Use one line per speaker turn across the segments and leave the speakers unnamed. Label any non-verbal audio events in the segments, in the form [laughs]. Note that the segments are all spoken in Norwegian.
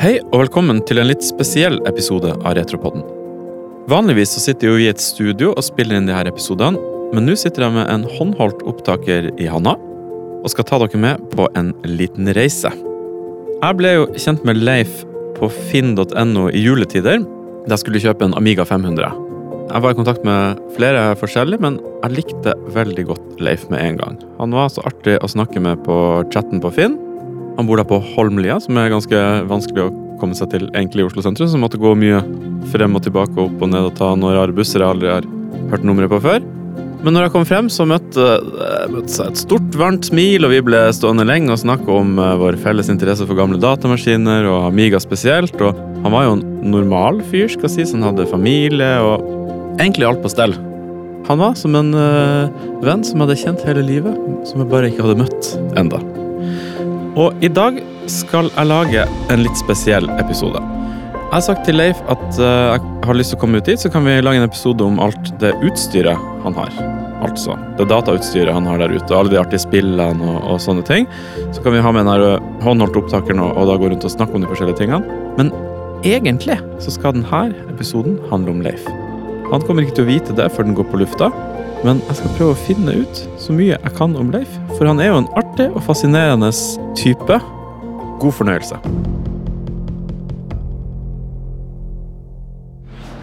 Hei og velkommen til en litt spesiell episode av Retropodden. Vanligvis så sitter jo vi i et studio og spiller inn de her episodene, men nå sitter jeg med en håndholdt opptaker i handa og skal ta dere med på en liten reise. Jeg ble jo kjent med Leif på finn.no i juletider da jeg skulle kjøpe en Amiga 500. Jeg var i kontakt med flere forskjellige, men jeg likte veldig godt Leif med en gang. Han var så artig å snakke med på chatten på Finn. Han bor da på Holmlia, som er ganske vanskelig å komme seg til egentlig i Oslo sentrum. Så måtte gå mye frem og tilbake og opp og ned og ta noen rare busser jeg aldri har hørt nummeret på før. Men når jeg kom frem, så møtte jeg et stort, varmt smil, og vi ble stående lenge og snakke om eh, vår felles interesse for gamle datamaskiner og Amiga spesielt. Og han var jo en normal fyr, skal sies. Han hadde familie og egentlig alt på stell. Han var som en eh, venn som jeg hadde kjent hele livet, som jeg bare ikke hadde møtt enda. Og i dag skal jeg lage en litt spesiell episode. Jeg har sagt til Leif at eh, jeg har lyst til å komme ut dit, så kan vi lage en episode om alt det utstyret han har. Altså det datautstyret han har der ute, alle de artige spillene og, og sånne ting. Så kan vi ha med den her eh, håndholdte opptakeren og, og da gå rundt og snakke om de forskjellige tingene. Men egentlig så skal denne episoden handle om Leif. Han kommer ikke til å vite det før den går på lufta, men jeg skal prøve å finne ut så mye jeg kan om Leif, for han er jo en artig og fascinerende type. God fornøyelse.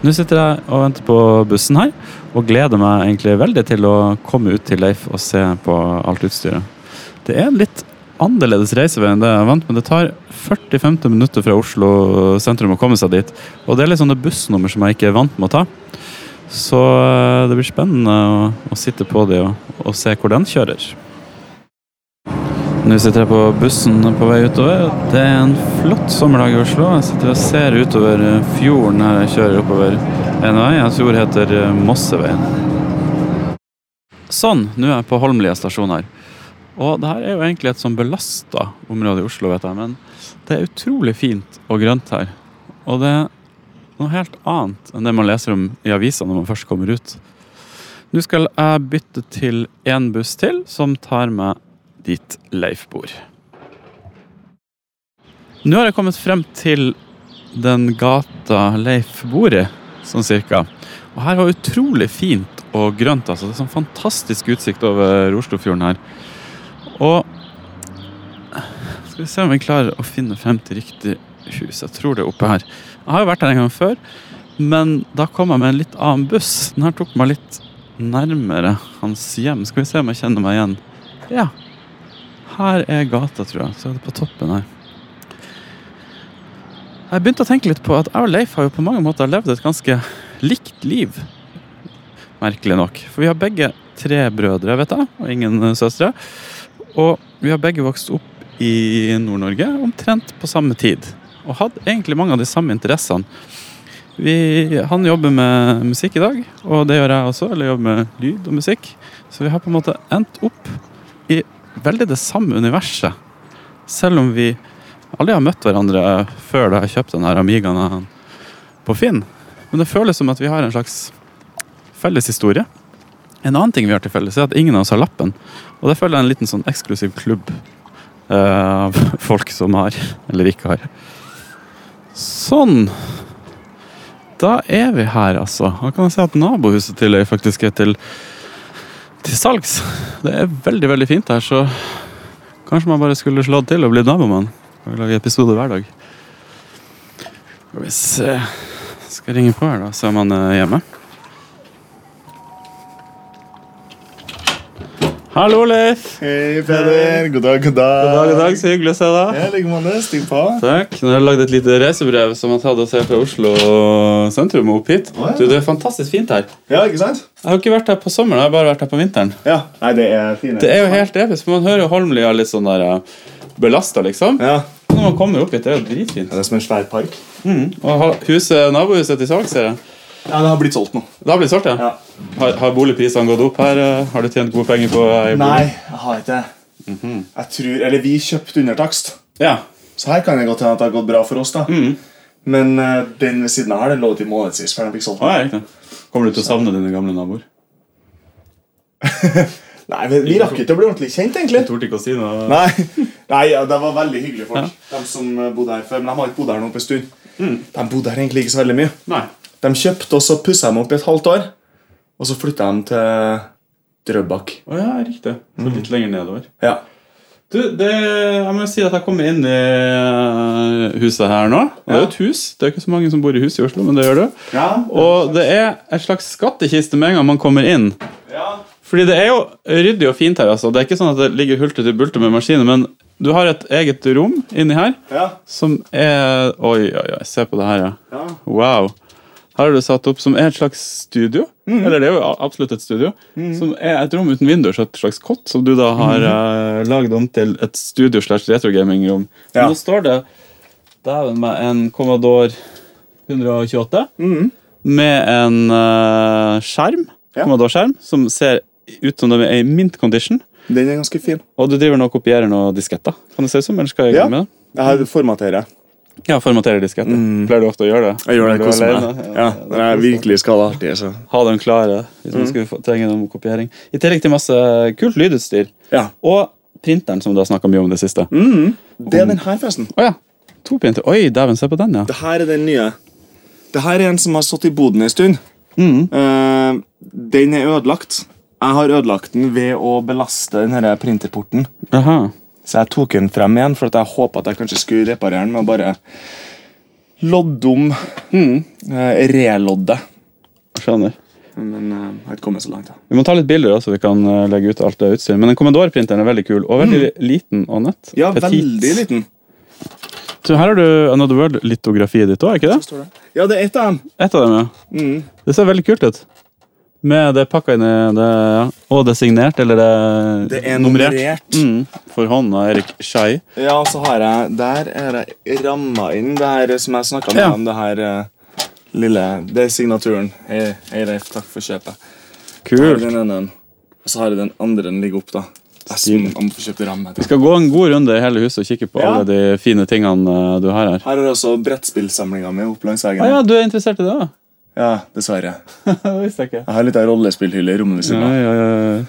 Nå sitter jeg og venter på bussen her, og gleder meg egentlig veldig til å komme ut til Leif og se på alt utstyret. Det er en litt annerledes reisevei enn det jeg er vant med. Det tar 40-50 minutter fra Oslo sentrum å komme seg dit, og det er litt sånne bussnummer som jeg ikke er vant med å ta. Så eh, det blir spennende å, å sitte på det og, og se hvor den kjører. Nå sitter jeg på bussen på vei utover. Det er en flott sommerdag i Oslo. Jeg sitter og ser utover eh, fjorden her jeg kjører oppover en vei jeg tror heter eh, Mosseveien. Sånn, nå er jeg på Holmlia stasjon her. Og det her er jo egentlig et sånn belasta område i Oslo, vet jeg, men det er utrolig fint og grønt her. Og det er noe helt annet enn det man leser om i avisa når man først kommer ut. Nå skal jeg bytte til én buss til, som tar meg dit Leif bor. Nå har jeg kommet frem til den gata Leif bor i, sånn cirka. Og her var utrolig fint og grønt, altså. Det er sånn fantastisk utsikt over Oslofjorden her. Og skal vi se om vi klarer å finne frem til riktig hus. Jeg tror det er oppe her. Jeg har jo vært her en gang før, men da kom jeg med en litt annen buss. Den her tok meg litt nærmere hans hjem. Skal vi se om jeg kjenner meg igjen. Ja, her er gata, tror jeg. Så er det på toppen her. Jeg begynte å tenke litt på at jeg og Leif har jo på mange måter levd et ganske likt liv. Merkelig nok. For vi har begge tre brødre, vet jeg, og ingen eh, søstre. Og vi har begge vokst opp i Nord-Norge omtrent på samme tid. Og hatt egentlig mange av de samme interessene. Vi, han jobber med musikk i dag, og det gjør jeg også. Eller jobber med lyd og musikk. Så vi har på en måte endt opp i veldig det samme universet. Selv om vi aldri har møtt hverandre før da jeg kjøpte denne Amigaen av han på Finn. Men det føles som at vi har en slags felles historie. En annen ting vi har til felles, er at ingen av oss har lappen. Og det føler jeg er en liten sånn eksklusiv klubb eh, [laughs] av folk som har, eller ikke har. Sånn. Da er vi her, altså. Da kan jeg si at nabohuset til øy faktisk er til, til salgs. Det er veldig, veldig fint her, så kanskje man bare skulle slått til og blitt nabomann. Og lage episode hver dag. Skal vi se Skal ringe på her, da, så er man eh, hjemme. Hallo, Leif.
Hei, Peder. God dag, god dag.
God dag, god dag. Så hyggelig å se deg.
Ja, like måte. Stig på.
Takk. Nå har jeg lagd et lite reisebrev som jeg har tatt oss her fra Oslo sentrum og opp hit.
ja.
Du, Det er fantastisk fint her.
Ja, ikke sant?
Jeg har ikke vært her på sommeren, jeg har bare vært her på vinteren.
Ja. Nei, det er fine.
Det er jo helt episk. for Man hører jo Holmlia litt sånn der belasta, liksom.
Ja.
Når man kommer opp hit, det er jo dritfint.
Det er som en svær park.
Og ha- huset, nabohuset til salgs, ser jeg.
Ja, det har blitt solgt nå.
Det har blitt solgt, ja.
Ja.
Har, har boligprisene gått opp her? eh? Har du tjent gode penger på ei bolig?
Nei, jeg har ikke det. Jeg tror Eller vi kjøpte under takst,
Ja.
så her kan det godt hende at det har gått bra for oss, da. Men eh, den ved siden av her, det lå til måned sist før den fikk solgt.
Å, ja, riktig. Kommer du til å savne dine gamle naboer?
Nei, vi, vi rakk ikke å bli ordentlig kjent, egentlig.
torde ikke å si noe.
Nei, [laughs] Nei ja, Mhm. det var veldig hyggelige folk, de som eh, bodde her før. Men de har ikke bodd her nå på en stund. De bodde her egentlig ikke så veldig mye.
Nei.
De kjøpte, og så pussa de opp i et halvt år. Og så flytta de til Drøbak.
Å ja, riktig. Så litt
Mm.
lenger nedover.
Ja.
Du, det, jeg må si at jeg kommer inn i eh, huset her nå. Og Det er jo et hus. Det er ikke så mange som bor i hus i Oslo, men det gjør du. Og det er en slags skattkiste med en gang man kommer inn. Fordi det er jo ryddig og fint her. altså. Det er ikke sånn at det ligger hulter til bulter med maskiner, men du har et eget rom inni her
Ja.
som er Oi, oi, oi, se på det her, ja.
Ja.
Wow. Her er det satt opp som er et slags studio.
Mhm.
Eller det er jo a- absolutt et studio. Som er et rom uten vinduer, så et slags kott, som du da
Mhm.
har mm. lagd om til et studio slash retrogaming-rom. Men
Ja.
Nå står det dæven meg en Commodore 128 med en eh, skjerm,
Mhm. Ja.
Commodore-skjerm, som ser ut som den er i mint condition.
Den er ganske fin.
Og du driver nå og kopierer noen disketter, kan det se ut som? Eller skal jeg
Ja.
gjøre med det?
Jeg har- formaterer.
Ja, formatere disketter. Pleier du ofte å gjøre det?
Mhm. Jeg gjør det
Når du er
kos meg.
alene?
Ja, når jeg virkelig skal ha det artig, altså. så
Ha dem klare hvis
Mm.
man skulle få- trenge noe kopiering. I tillegg til masse kult lydutstyr.
Ja.
Og printeren, som du har snakka mye om i det siste.
Mm.
Å
Det er den her, forresten.
ja. To printer. Oi, dæven, se på den, ja.
Det her er den nye. Det her er en som har stått i boden en stund. Eh, den er ødelagt. Jeg har ødelagt den ved å belaste den her printerporten.
Aha.
Så jeg tok den frem igjen, for at jeg håpet at jeg kanskje skulle reparere den med å bare lodde om. eh, relodde.
Skjønner.
Men eh, jeg har ikke kommet så langt. da.
Vi må ta litt bilder, også, så vi kan eh, legge ut alt det utstyret. Men den Commodore-printeren er veldig kul, og veldig liten og nett.
Mm. Ja,
Petit.
veldig liten.
Så her har du Another World-litografiet ditt òg, er ikke det?
Ja, det er ett av dem. Mm,
Et av dem, ja. Det ser veldig kult ut. Med det pakka inn i det ja. Og det er signert, eller det er,
Det er nummerert.
Mm, for hånd av Erik Skei.
Ja, og så har jeg Der er jeg ramma inn det her som jeg snakka med
Ja.
om. Det her eh, lille Det er signaturen. Hei, hei Leif, takk for kjøpet. Her er
Kult.
Den ene, og så har jeg den andre den ligger opp, da. Jeg skal- jeg må få kjøpt ramme.
Vi skal gå en god runde i hele huset og kikke på
Ja.
alle de fine tingene eh, du har her.
Her er også brettspillsamlinga mi opp langs veggen.
Ah, ja, du er interessert i det òg?
Ja, dessverre.
[laughs] det visste jeg ikke.
Jeg har litt av rollespillhylle i rommet ved siden
Ja,
av.
ja, ja.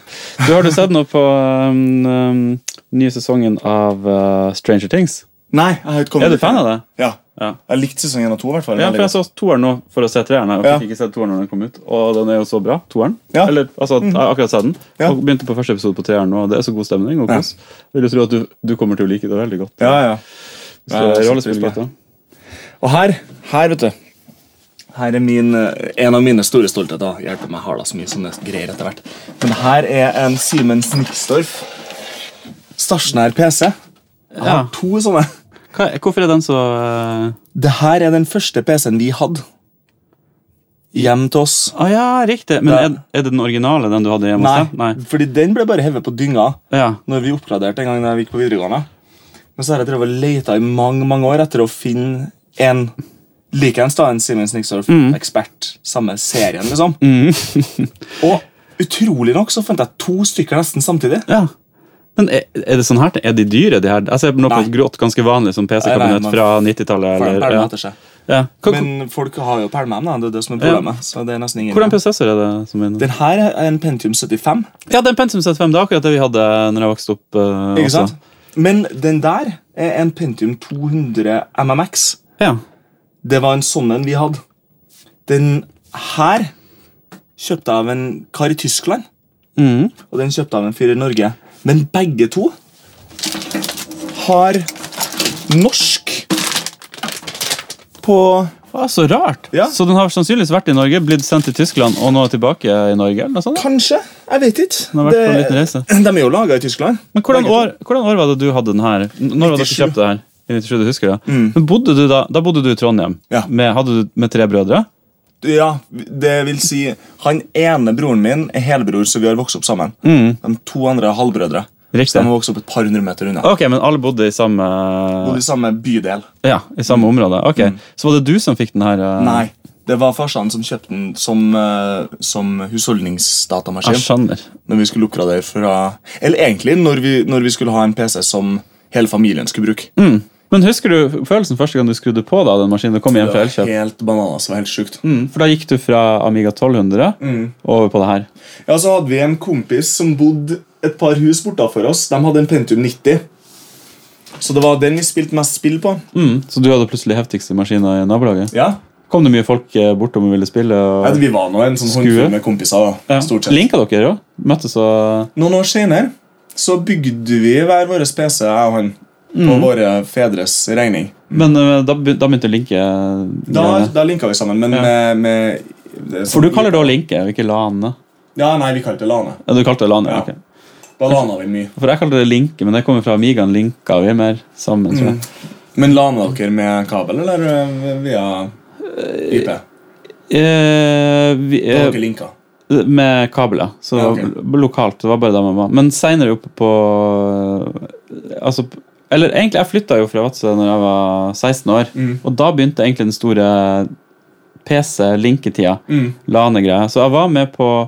Du, har du sett noe på um, um, nye sesongen av eh, Stranger Things?
Nei, jeg har ikke kommet
Er du
dit ennå.
fan av det?
Ja.
Ja.
Jeg likte sesong én og to, i hvert fall.
Ja,
veldig
for jeg så toeren nå for å se treeren. Jeg
Ja.
fikk ikke sett toeren når den kom ut, og den er jo så bra. toeren.
Ja.
Eller, altså, jeg har akkurat sett den.
Ja.
Og begynte på første episode på treeren nå, og det er så god stemning. og
Ja.
kos. Vil du tro at du, du kommer til å like det veldig godt?
godt. Ja, ja.
Så det er
Ja,
rollespill,
jeg setter pris på
gutta.
Og her, her vet du Her er min, eh, en av mine store stoltheter. Hjelper meg harda så mye sånne greier etter hvert. Men det her er en Siemens Nixdorf stasjonær PC. Jeg har
Ja.
to sånne.
Hva, hvorfor er den så eh,
Det her er den første PC-en vi hadde. Hjem til oss.
Å Ah, ja, riktig. Men
Ja.
er, er det den originale, den du hadde hjemme
Nei,
hos deg? Nei.
fordi den ble bare hevet på dynga
Ja.
når vi oppgraderte en gang da jeg gikk på videregående. Men så har jeg drevet og letet i mange mange år etter å finne en likeens da, en Siemens
Mm.
Nixdorf-ekspert. Samme serien, liksom.
[laughs]
og utrolig nok så fant jeg to stykker nesten samtidig.
ja. Men er, er det sånn her? Er de dyre, de her? Jeg ser nå på
Nei.
et grått, ganske vanlig sånn
Nei, nei,
PC-kabinett
men-
fra 90-tallet.
For de
eller-
pælmer
Ja.
etter seg.
Ja. Hva-
Men folk har jo pælma dem, da. det er det som er problemet. Så det er nesten ingen
Hvordan prosessor er det? som er
Den her er en Pentium 75.
Ja, den Pentium 75, det er akkurat det vi hadde når jeg vokste opp. eh,
ikke
også.
sant? Men den der er en Pentium 200 MMX.
Ja.
Det var en sånn en vi hadde. Den her kjøpte jeg av en kar i Tyskland.
Mhm.
Og den kjøpte jeg av en fyr i Norge. Men begge to har norsk på
Ah, så rart!
Ja.
Så den har sannsynligvis vært i Norge, blitt sendt til Tyskland og nå tilbake i Norge? eller noe sånt? da?
Kanskje. Jeg vet ikke.
Den har vært på en liten reise.
[laughs] de er jo laga i Tyskland.
Men hvordan
Begge to.
år, hvordan år var det du hadde den her? N- Når var det du
97.
kjøpte det her? I 97, du husker det. Men bodde du da, da bodde du i Trondheim
Mm. Ja.
med, hadde du, med tre brødre?
Ja, det vil si Han ene broren min er helbror, så vi har vokst opp sammen. De to andre er
Mm.
halvbrødre.
Riktig.
Så de har vokst opp et par hundre meter unna.
Ok, men alle bodde i samme,
Og i samme bydel.
ja, i samme område. Ok, Så var det du som fikk den her? eh,
Mm. Nei, det var farsan som kjøpte den som, eh, som husholdningsdatamaskin.
Jeg skjønner.
Når vi skulle
Mm.
oppgradere fra Eller egentlig når vi, når vi skulle ha en PC som hele familien skulle bruke.
Men husker du følelsen første gang du skrudde på da, den maskinen? Du kom hjem
Det
fra
var
Elkjøp.
helt bananas. Det var helt sjukt.
Mm, for da gikk du fra Amiga 1200
Mm.
over på det her.
Ja, så hadde vi en kompis som bodde et par hus bortafor oss. De hadde en Pentium 90. Så det var den vi spilte mest spill på.
Mm, så du hadde plutselig heftigste maskiner i nabolaget.
Ja.
Kom det mye folk eh, bortom og ville spille?
Ja,
Og...
Vi var nå en sånn
Skue.
håndfull med kompiser. da,
Ja.
stort sett.
Linka dere òg? Møttes og
Noen år senere så bygde vi hver vår PC, jeg og han,
Mm.
på våre fedres regning.
Men eh, da, be- da begynte å linke eh,
Da,
greiene.
da linka vi sammen, men med, med det er sånn-
For du kaller det å linke, og ikke lane.
Ja, nei, vi kalte det Lane.
Ja, Du kalte det lane,
Ja.
ok.
Da lana vi mye.
For jeg kaller det linke, men det kommer fra Amigaen. Linka vi er mer sammen, tror jeg.
Men lana dere med kabel eller eh, via IP? Da Mm.
Eh, vi, eh,
dere linka.
Med kabler. Så
Ja, ok.
lo- lokalt. Det var bare der man var. Men seinere oppe på eh, Altså p- Eller egentlig, jeg flytta jo fra Vadsø når jeg var 16 år.
Mm.
Og da begynte egentlig den store PC-linketida.
Mm.
LAN-greie. Så jeg var med på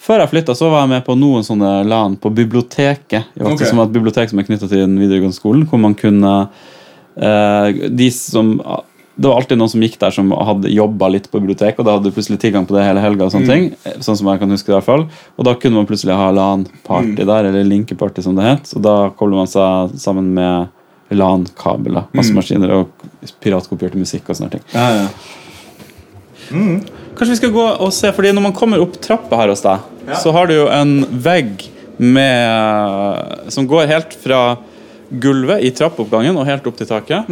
Før jeg flytta, var jeg med på noen sånne LAN på biblioteket. i Vadsø,
Ok.
Som var et bibliotek som er knytta til den videregående skolen, hvor man kunne eh, De som det var alltid noen som gikk der som hadde jobba litt på biblioteket, og da hadde du plutselig tilgang på det hele helga. Og sånne ting, eh, sånn som jeg kan huske det i hvert fall. Og da kunne man plutselig ha LAN-party der, eller linkeparty som det het. Og da kobler man seg sammen med LAN-kabler, masse maskiner og piratkopierte musikk og sånne ting.
Ja, ja.
Kanskje vi skal gå og se, fordi når man kommer opp trappa her hos deg,
Ja.
så har du jo en vegg med Som går helt fra gulvet i trappeoppgangen og helt opp til taket.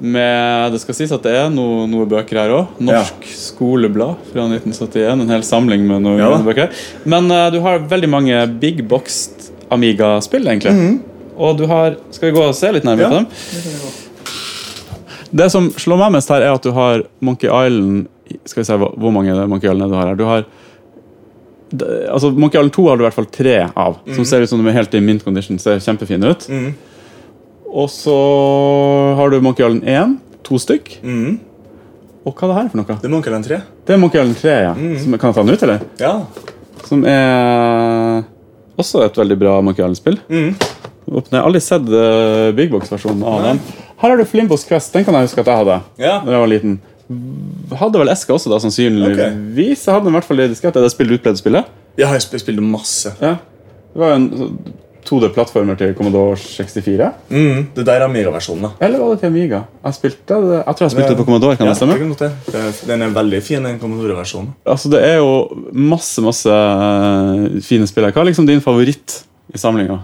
Med Det skal sies at det er noe, noe bøker her òg. Norsk skoleblad fra 1971. En hel samling med noen
Ja da.
grønne bøker. Men eh, du har veldig mange big boxed Amiga-spill, egentlig. Og du har Skal vi gå og se litt nærmere
Mhm.
på
Ja.
dem? Det som slår meg mest her, er at du har Monkey Island Skal vi se hva- hvor mange Monkey Island er det du har her. Du har d- altså Monkey Island 2 har du i hvert fall tre av,
Mhm.
som ser ut som de er helt i mint condition. Ser kjempefine ut. Og så har du Monkey Island 1. To stykk.
Mhm.
Og hva er det her for noe?
Det er Munkelen 3.
Det er Monkey Island 3, ja.
Mm.
Som, kan jeg ta den ut, eller?
Ja.
Som er også et veldig bra Monkey Island-spill.
Mm.
Åpner- Jeg har aldri sett eh, Big Box-versjonen av den. Her har du Flimbos Quest. Den kan jeg huske at jeg hadde.
Ja.
Når jeg var liten. Hadde vel Eska også, da, sannsynligvis. Jeg hadde den i hvert fall i diskett. Er det spill du utpleide spillet?
Jeg har spilt det masse.
Ja. Det var en 2D-plattformer til Commodore 64.
Mhm, Det der er Amiga-versjonen, da.
Eller var det til Amiga? Jeg, spilte, det- jeg tror jeg spilte det på Commodore. kan
Ja,
det stemme?
kan godt det. Det er- Den er veldig fin, den Commodore-versjonen.
Altså, det er jo masse, masse eh, fine spill her. Hva er liksom din favoritt i samlinga?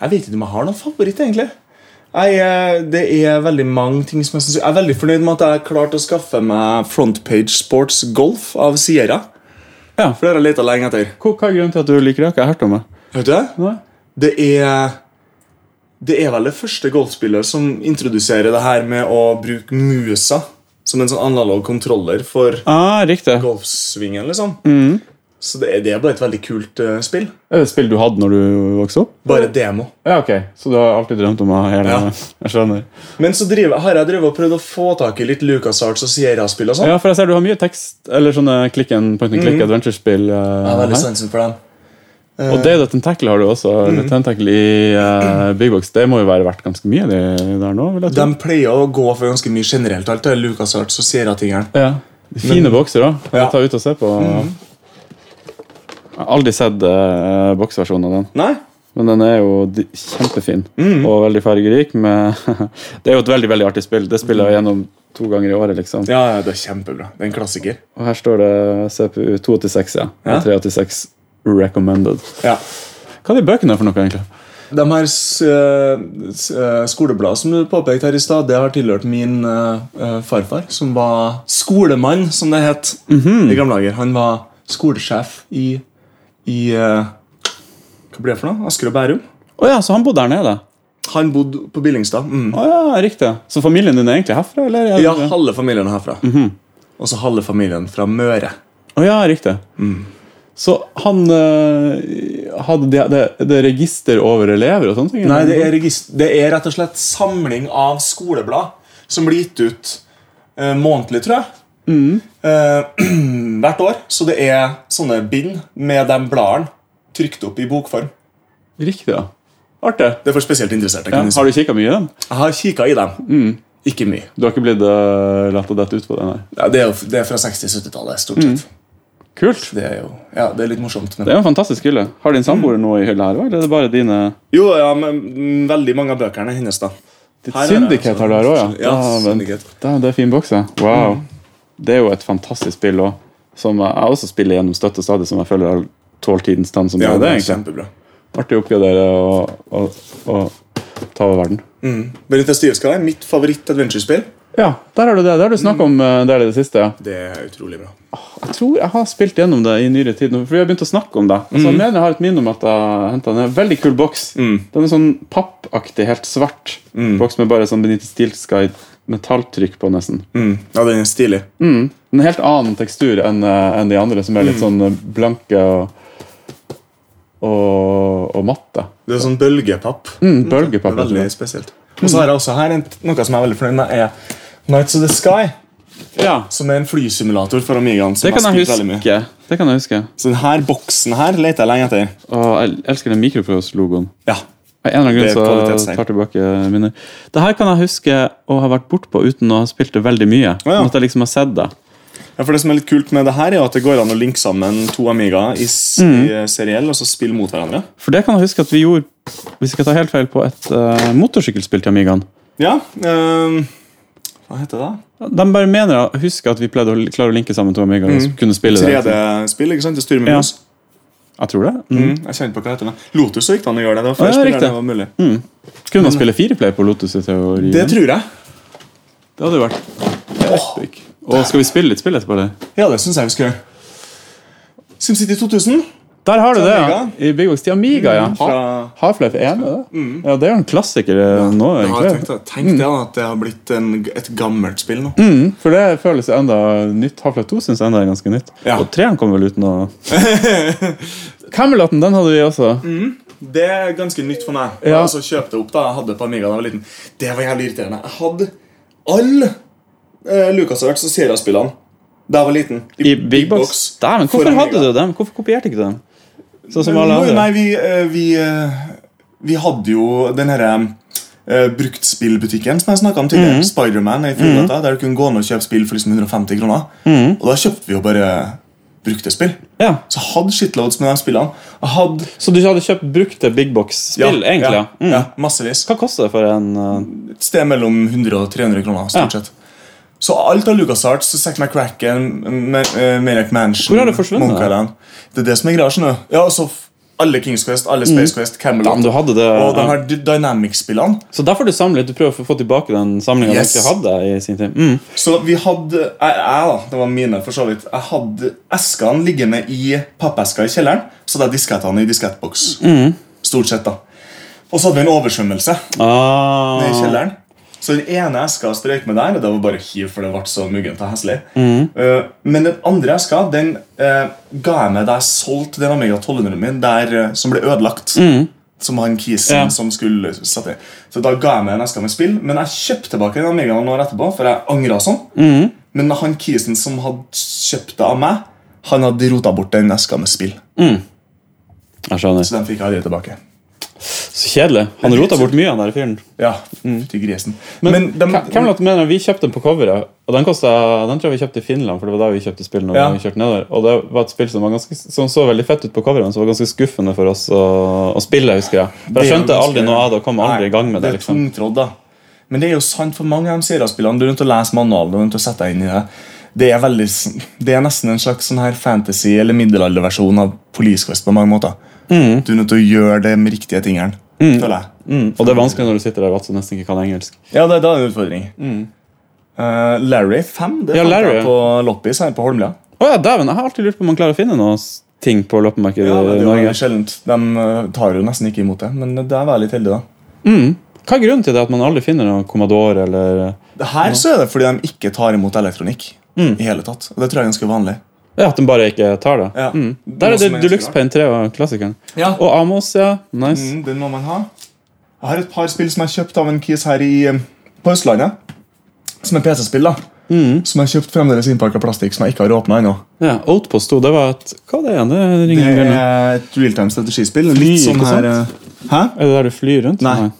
Jeg vet ikke om jeg har noen favoritt, egentlig. Jeg, eh, det er veldig mange ting som Jeg synes Jeg er veldig fornøyd med at jeg klarte å skaffe meg Frontpage Sports Golf av Sierra.
Ja.
For det har jeg leta lenge etter.
Hva, hva er grunnen til at du liker det? Hva har jeg hørt om det?
Vet du det?
Nei.
Det er Det er vel det første golfspillet som introduserer det her med å bruke musa som en sånn analog kontroller for
Ah, riktig.
golfsvingen, liksom.
Mm.
Så det er, det er bare et veldig kult eh, spill.
Er det et spill du hadde når du vokste opp?
Bare demo.
Ja, ok. Så du har alltid drømt om å ha hele
Ja.
[laughs] Jeg skjønner.
Men så driver, har jeg drevet og prøvd å få tak i litt LucasArts og Sierra-spill og sånn.
Ja, for jeg ser du har mye tekst, eller sånne click and point and click adventure-spill.
Jeg har
eh,
veldig
her.
sansen for dem.
og Dave the Tentacle har du også. eller Tentacle i eh, Big Box. Det må jo være verdt ganske mye det der nå? vil jeg tro.
De pleier å gå for ganske mye generelt, alt det LucasArts og Sierra-tingeren.
Ja. Fine bokser òg.
Ja. Mm.
Ta ut og se på. Jeg har aldri sett eh, boksversjonen av den,
Nei?
men den er jo di- kjempefin
Mm.
og veldig fargerik. Med [laughs] det er jo et veldig veldig artig spill. Det spiller jeg gjennom to ganger i året. liksom.
Ja, ja, det er kjempebra. Det er en klassiker.
Og her står det CPU 286, ja.
Ja.
Og 386 recommended.
Ja.
Hva er de bøkene for noe, egentlig?
De her s- eh, s- eh, skolebladene som du påpekte her i stad, det har tilhørt min eh, eh, farfar, som var skolemann, som det het i gamle dager. Han var skolesjef i, i eh, Hva blir det for noe? Asker og Bærum?
Å ja, så han bodde her nede?
Han bodde på Billingstad. Mm.
Å ja, riktig. Så familien din er egentlig herfra? eller?
Ja, Mhm. halve familien er herfra. Og så halve familien fra Møre.
Å ja, riktig.
Mm.
Så han eh, hadde det, det, det register over elever og sånne ting?
Nei,
eller?
det er, regist- det er rett og slett samling av skoleblad som blir gitt ut eh, månedlig, tror jeg. Eh, [clears throat] hvert år. Så det er sånne bind med de bladene trykt opp i bokform.
Riktig, ja. Artig.
Det er for spesielt interesserte.
Ja.
kan jeg si.
Har du kikka mye i dem?
Jeg har kikka i dem. Ikke mye.
Du har ikke blitt uh, latt å dette ut på den her?
Ja, det, er jo, det er fra 60-70-tallet, stort sett.
Kult.
Det er jo ja, det er litt morsomt. Men...
Det er jo en fantastisk hylle. Har din
Mm.
samboer noe i hylla her òg, eller er det bare dine
Jo, ja, men mm, veldig mange av bøkene er hennes, da.
Ditt
Her er det,
Syndicate har du her òg, ja?
Ja, Mm.
men-
Syndicate.
Da, det er fin boks, ja. Wow. Det er jo et fantastisk spill òg. Som jeg jeg også spiller gjennom støtte stadig, som jeg føler har tålt tidens tann som
Ja,
bare
det
det.
er
egentlig.
kjempebra.
Artig å oppgradere og, og, og ta over verden.
Benita Stivska er mitt favoritt-adventurespill.
Ja, der har du det. Det har du snakket om eh, der i det siste. ja.
Det er utrolig bra.
Jeg tror jeg har spilt gjennom det i nyere tid, nå, for vi har begynt å snakke om det. Altså,
Mm.
jeg mener jeg har et minne om at jeg hentet den. En veldig kul boks. Den er sånn pappaktig, helt svart
Mm.
boks med bare sånn Benito Stilska i metalltrykk på, nesten.
Mm. Ja, den er stilig.
En helt annen tekstur enn eh, enn de andre, som
Mm.
er litt sånn eh, blanke og, og, og matte.
Det er sånn bølgepapp.
Mm,
Det er
bølgepapp.
veldig spesielt. Og så har jeg også her en, noe som jeg er veldig fornøyd med, er Nights of the Sky.
Ja,
Som er en flysimulator for Amigaen. Som
det kan
jeg
jeg
har spilt veldig mye.
huske. Det kan jeg huske.
Så denne boksen her leter jeg lenge etter.
Og jeg elsker den mikroprose-logoen.
Ja.
Av en eller annen
Det
grunn
er
så
kvalitetstegn.
tar jeg tilbake minner. Det her kan jeg huske å ha vært bortpå uten å ha spilt det veldig mye.
ja.
Sånn at jeg liksom har sett det.
ja, for Det som er litt kult med det her, er jo at det går an å linke sammen to Amigaer i, s-
Mm.
i eh, seriell og så spille mot hverandre.
For det kan jeg huske at vi gjorde, hvis jeg ikke tar helt feil, på et eh, motorsykkelspill til Amigaen.
Ja, ehm, Hva heter det?
De bare mener jeg husker at vi pleide å li- klare å linke sammen to Amigaer
Mm.
og kunne spille det.
3D-spill, ikke sant? Det styrer med
Ja.
mus.
Jeg tror det. Mm.
Mm. Jeg kjenner på hva heter det. Lotus så gikk det an å gjøre det. Det var
Ja,
flere spillere
riktig. Mm.
enn det var mulig.
Kunne man spille fireplay på Lotus i teorien?
Det tror jeg.
Det hadde jo vært epic. Og skal vi spille litt spill etterpå, eller?
Ja, det syns jeg vi skal gjøre. SimCity 2000.
Der har du det, ja.
Amiga. Mm,
I Big Box til Amiga, ja.
fra- Mm.
Half-Life 1, er det? Ja, det er jo en klassiker eh, nå,
Ja,
egentlig.
jeg tenkte, tenk det, da, at det har blitt en, et gammelt spill nå.
Mm, for det føles enda nytt. Half-Life 2 syns jeg enda er ganske nytt.
Ja.
Og 3 kommer vel uten [laughs] å Camelaten, den hadde vi også.
Mm. Det er ganske nytt for meg.
Ja.
Og så kjøpte jeg opp da, jeg hadde på Amiga da jeg var liten. Det var jævlig irriterende. Jeg hadde alle eh, LucasArts og Sierra-spillene da jeg var liten.
I Big Box. Dæven,
for
hvorfor
Amiga.
hadde du dem? Hvorfor kopierte ikke du dem? Sånn som alle
Nei,
andre.
nei, vi, eh, vi, eh, vi hadde jo den herre eh, bruktspillbutikken som jeg snakka om
Mm.
tidligere. Spiderman i Fjordgata, der du kunne gå ned og kjøpe spill for liksom 150 kroner.
Mm.
Og da kjøpte vi jo bare brukte spill.
Ja.
Så jeg hadde shitloads med de spillene. Jeg hadde
Så du hadde kjøpt brukte Big Box-spill, egentlig?
ja,
Ja. Mm.
ja, massevis.
Hva koster det for en eh,
Et sted mellom 100 og 300 kroner. stort
Ja.
sett Så alt av LucasArts, Zack McCracken, eh, Maniac Mansion
Hvor har det forsvunnet?
Monkey Island. Det er det som er greia. skjønner du. Ja, og så f- alle Kings Quest, alle Space Quest, Camelot
Damn, du hadde Mm. det.
Og de
ja.
her dy- Dynamic-spillene.
Så derfor du samler litt? Du prøver å få tilbake den samlinga
Yes.
du ikke hadde i sin tid? Mm.
Så vi hadde jeg, jeg da, det var mine for så vidt Jeg hadde eskene liggende i pappesker i kjelleren. Så hadde jeg diskettene i diskettboks.
Mm.
Stort sett, da. Og så hadde vi en oversvømmelse
Ah.
i kjelleren. Så den ene eska strøyk med der, og det var bare hiv, for det ble så muggent og heslig.
Mm.
Eh, men den andre eska den eh, ga jeg meg da jeg solgte den Amiga 1200 min der, eh, som ble ødelagt. Som han kisen
Mm. Ja.
som skulle sette i. Så da ga jeg meg en eske med spill, men jeg kjøpte tilbake den Amigaen noen år etterpå, for jeg angra sånn.
Mm.
Men han kisen som hadde kjøpt det av meg, han hadde rota bort den eska med spill.
Jeg skjønner.
Så den fikk jeg aldri tilbake.
Så kjedelig. Han rota bort mye, han der fyren.
Ja, fytti grisen.
Mm. Men,
dem-
Ca- Camelot mener vi kjøpte den på coveret. Og den, kostet, den tror jeg vi kjøpte i Finland, for det var da vi kjøpte spill. Når
Ja.
vi kjørte nedover Og det var et spill som, var ganske, som så veldig fett ut på coveret, men som var ganske skuffende for oss å, å spille. husker jeg For Jeg
Det er
skjønte
jo
aldri
ganske-
noe av det og kom aldri i gang med det.
Nei, Det er
liksom
tungtrådd, da. Men det er jo sant for mange av de seriespillene. Du er nødt til å lese manualen. Du er nødt til å sette deg inn i Det Det er, veldig, s- det er nesten en slags sånn her fantasy- eller middelalderversjon av Police Quest på mange måter. Du er nødt til å gjøre det med riktige tingene. Føler jeg.
mm. Og det er vanskelig når du sitter der og altså, nesten ikke kan engelsk.
Ja, det, da er det en utfordring. Eh, Larry 5 det
Mm. Ja,
fant
Larry, ja.
jeg på loppis her på Holmlia.
Å ja, dæven! Jeg har alltid lurt på om man klarer å finne noen s- ting på loppemarkedet
Ja, det
i
er jo
Norge.
veldig sjeldent. De eh, tar jo nesten ikke imot det, men der var jeg litt heldig, da.
Hva er grunnen til det at man aldri finner noen Commodore eller
Her så er det fordi de ikke tar imot elektronikk. I hele tatt, og Det tror jeg er ganske vanlig.
Ja, At de bare ikke tar det?
Ja.
Mm. Der
Noe
er det
som er ganske
Deluxe
rart.
Paint 3 og klassikeren.
Ja.
Og Amos, ja. Nice.
Mm, den må man ha. Jeg har et par spill som jeg har kjøpt av en kis her i, eh, på Østlandet. Som er PC-spill. da. Som jeg har kjøpt fremdeles innpakka plastikk som jeg ikke har åpna ennå.
Ja, Outpost 2, det var et Hva er det igjen? Det ringer
Det
en bjelle.
er et realtime strategispill. Litt
Fly,
sånn
ikke
her
sant?
eh, Hæ?
Er det der du flyr rundt?
Nei.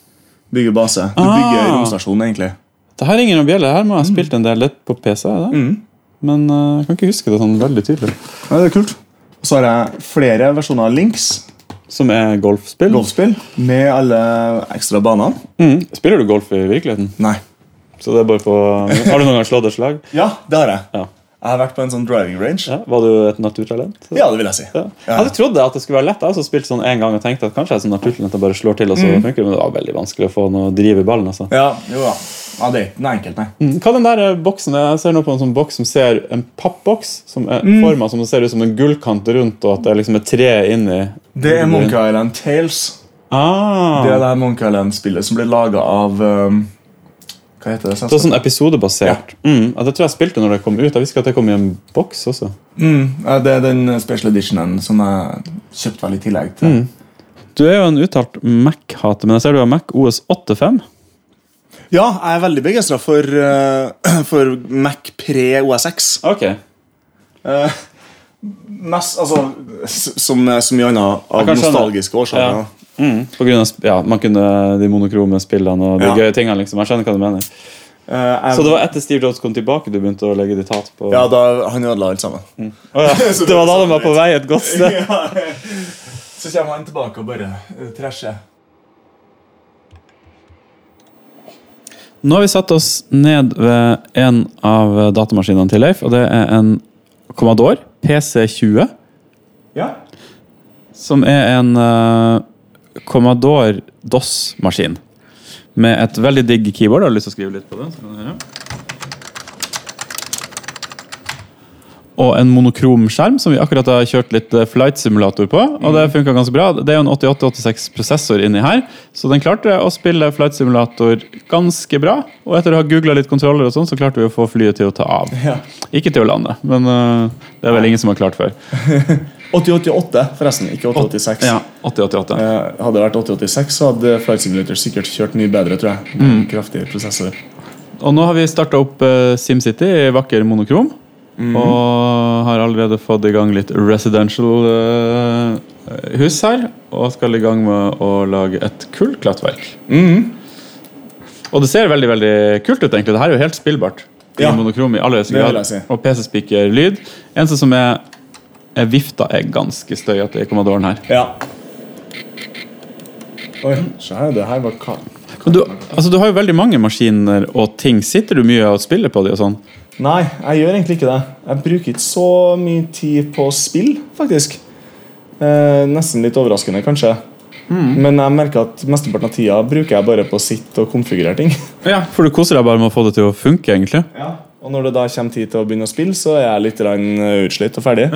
Bygger base. Du bygger
Ah.
romstasjon, egentlig.
Det her ringer noen bjeller. Her må jeg ha
Mm.
spilt en del litt på PC. er Det? Men eh, jeg kan ikke huske det sånn veldig tydelig.
Ja, det er kult. Og så har jeg flere versjoner av Links,
Som er golfspill.
golfspill, med alle ekstra banene.
Mm. Spiller du golf i virkeligheten?
Nei.
Så det er bare på... Har du noen gang slått et slag?
Ja, det har jeg.
Ja.
Jeg har vært på en sånn driving range.
Ja. Var du et naturtalent?
Ja, det vil jeg si.
Ja. Jeg hadde trodd det at det skulle være lett. Jeg har også spilt sånn en gang og tenkte at kanskje jeg er sånn naturtalent og bare slår til, og
Mm.
så funker det, men det var veldig vanskelig å få noe driv i ballen. altså.
Ja, jo da. Ja, det er ikke noe enkelt, nei.
Mm, Hva den der eh, boksen er? Jeg ser nå på en sånn boks som ser en pappboks som er formet som det ser ut som en gullkant rundt, og at det er liksom er tre inni.
Det er Monkey Island Tales.
Mm. Ah,
Det
det,
er
er
det her Monkey Island-spillet som ble laga av um, Hva heter det?
sånn episodebasert. Mm, ja, det tror jeg spilte når det kom ut. Jeg visste ikke at det kom i en boks også.
Mm, ja, det er den special editionen som jeg kjøpte vel i tillegg til.
Mm. Du er jo en uttalt Mac-hater, men jeg ser du har Mac OS 85.
Ja, jeg er veldig begeistra for, eh, [clears throat] for Mac Pre OSX.
Ok.
Eh, Mest, altså, s- som eh, så mye annet av
Jeg kan skjønne.
nostalgiske årsaker.
Ja. På grunn av, sp- ja, man kunne de monokrome spillene og de
Ja.
gøye tingene. liksom. Jeg skjønner hva du mener.
Eh, jeg-
Så det var etter Steve Jobs kom tilbake, du begynte å legge ditt hat på
ja, da, han ødela alt sammen.
Å [laughs] ja, Det var da de var på vei et godt sted.
[laughs] Så kommer han tilbake og bare uh, trasher.
Nå har vi satt oss ned ved en av datamaskinene til Leif, og det er en Commodore PC20,
Ja.
som er en eh, Commodore DOS-maskin. Med et veldig digg keyboard. Har du lyst til å skrive litt på det? Så kan du høre. Og en monokrom skjerm, som vi akkurat har kjørt litt eh, flight simulator på. Og det funka ganske bra. Det er jo en 8886-prosessor inni her, så den klarte å spille flight simulator ganske bra. Og etter å ha googla litt kontroller og sånn, så klarte vi å få flyet til å ta av.
Ja.
Ikke til å lande, men eh, det er vel ingen som har klart før.
8088, forresten. Ikke 8086.
Ja, 8088.
Eh, Hadde det vært 8086, så hadde Flight Simulator sikkert kjørt mye bedre. tror jeg Med en Kraftig prosessor.
Og nå har vi starta opp eh, SimCity i vakker monokrom.
Mhm.
Og har allerede fått i gang litt residential eh, hus her. Og skal i gang med å lage et kullklattverk.
Mhm.
Og det ser veldig veldig kult ut, egentlig. Det her er jo helt spillbart. I
Ja.
monokrom i aller høyeste
Det vil
grad.
jeg si.
Og PC-speaker-lyd. Eneste som er, er vifta, er ganske støyete i Commodoren her.
Ja. Oi, se her, det her var ka-
Men du, altså, du har jo veldig mange maskiner og ting. Sitter du mye og spiller på de og sånn?
Nei, jeg gjør egentlig ikke det. Jeg bruker ikke så mye tid på spill, faktisk. Eh, nesten litt overraskende, kanskje. Men jeg merker at mesteparten av tida bruker jeg bare på å sitte og konfigurere ting.
Ja, For du koser deg bare med å få det til å funke, egentlig?
Og når det da kommer tid til å begynne å spille, så er jeg litt grann, eh, utslitt og ferdig.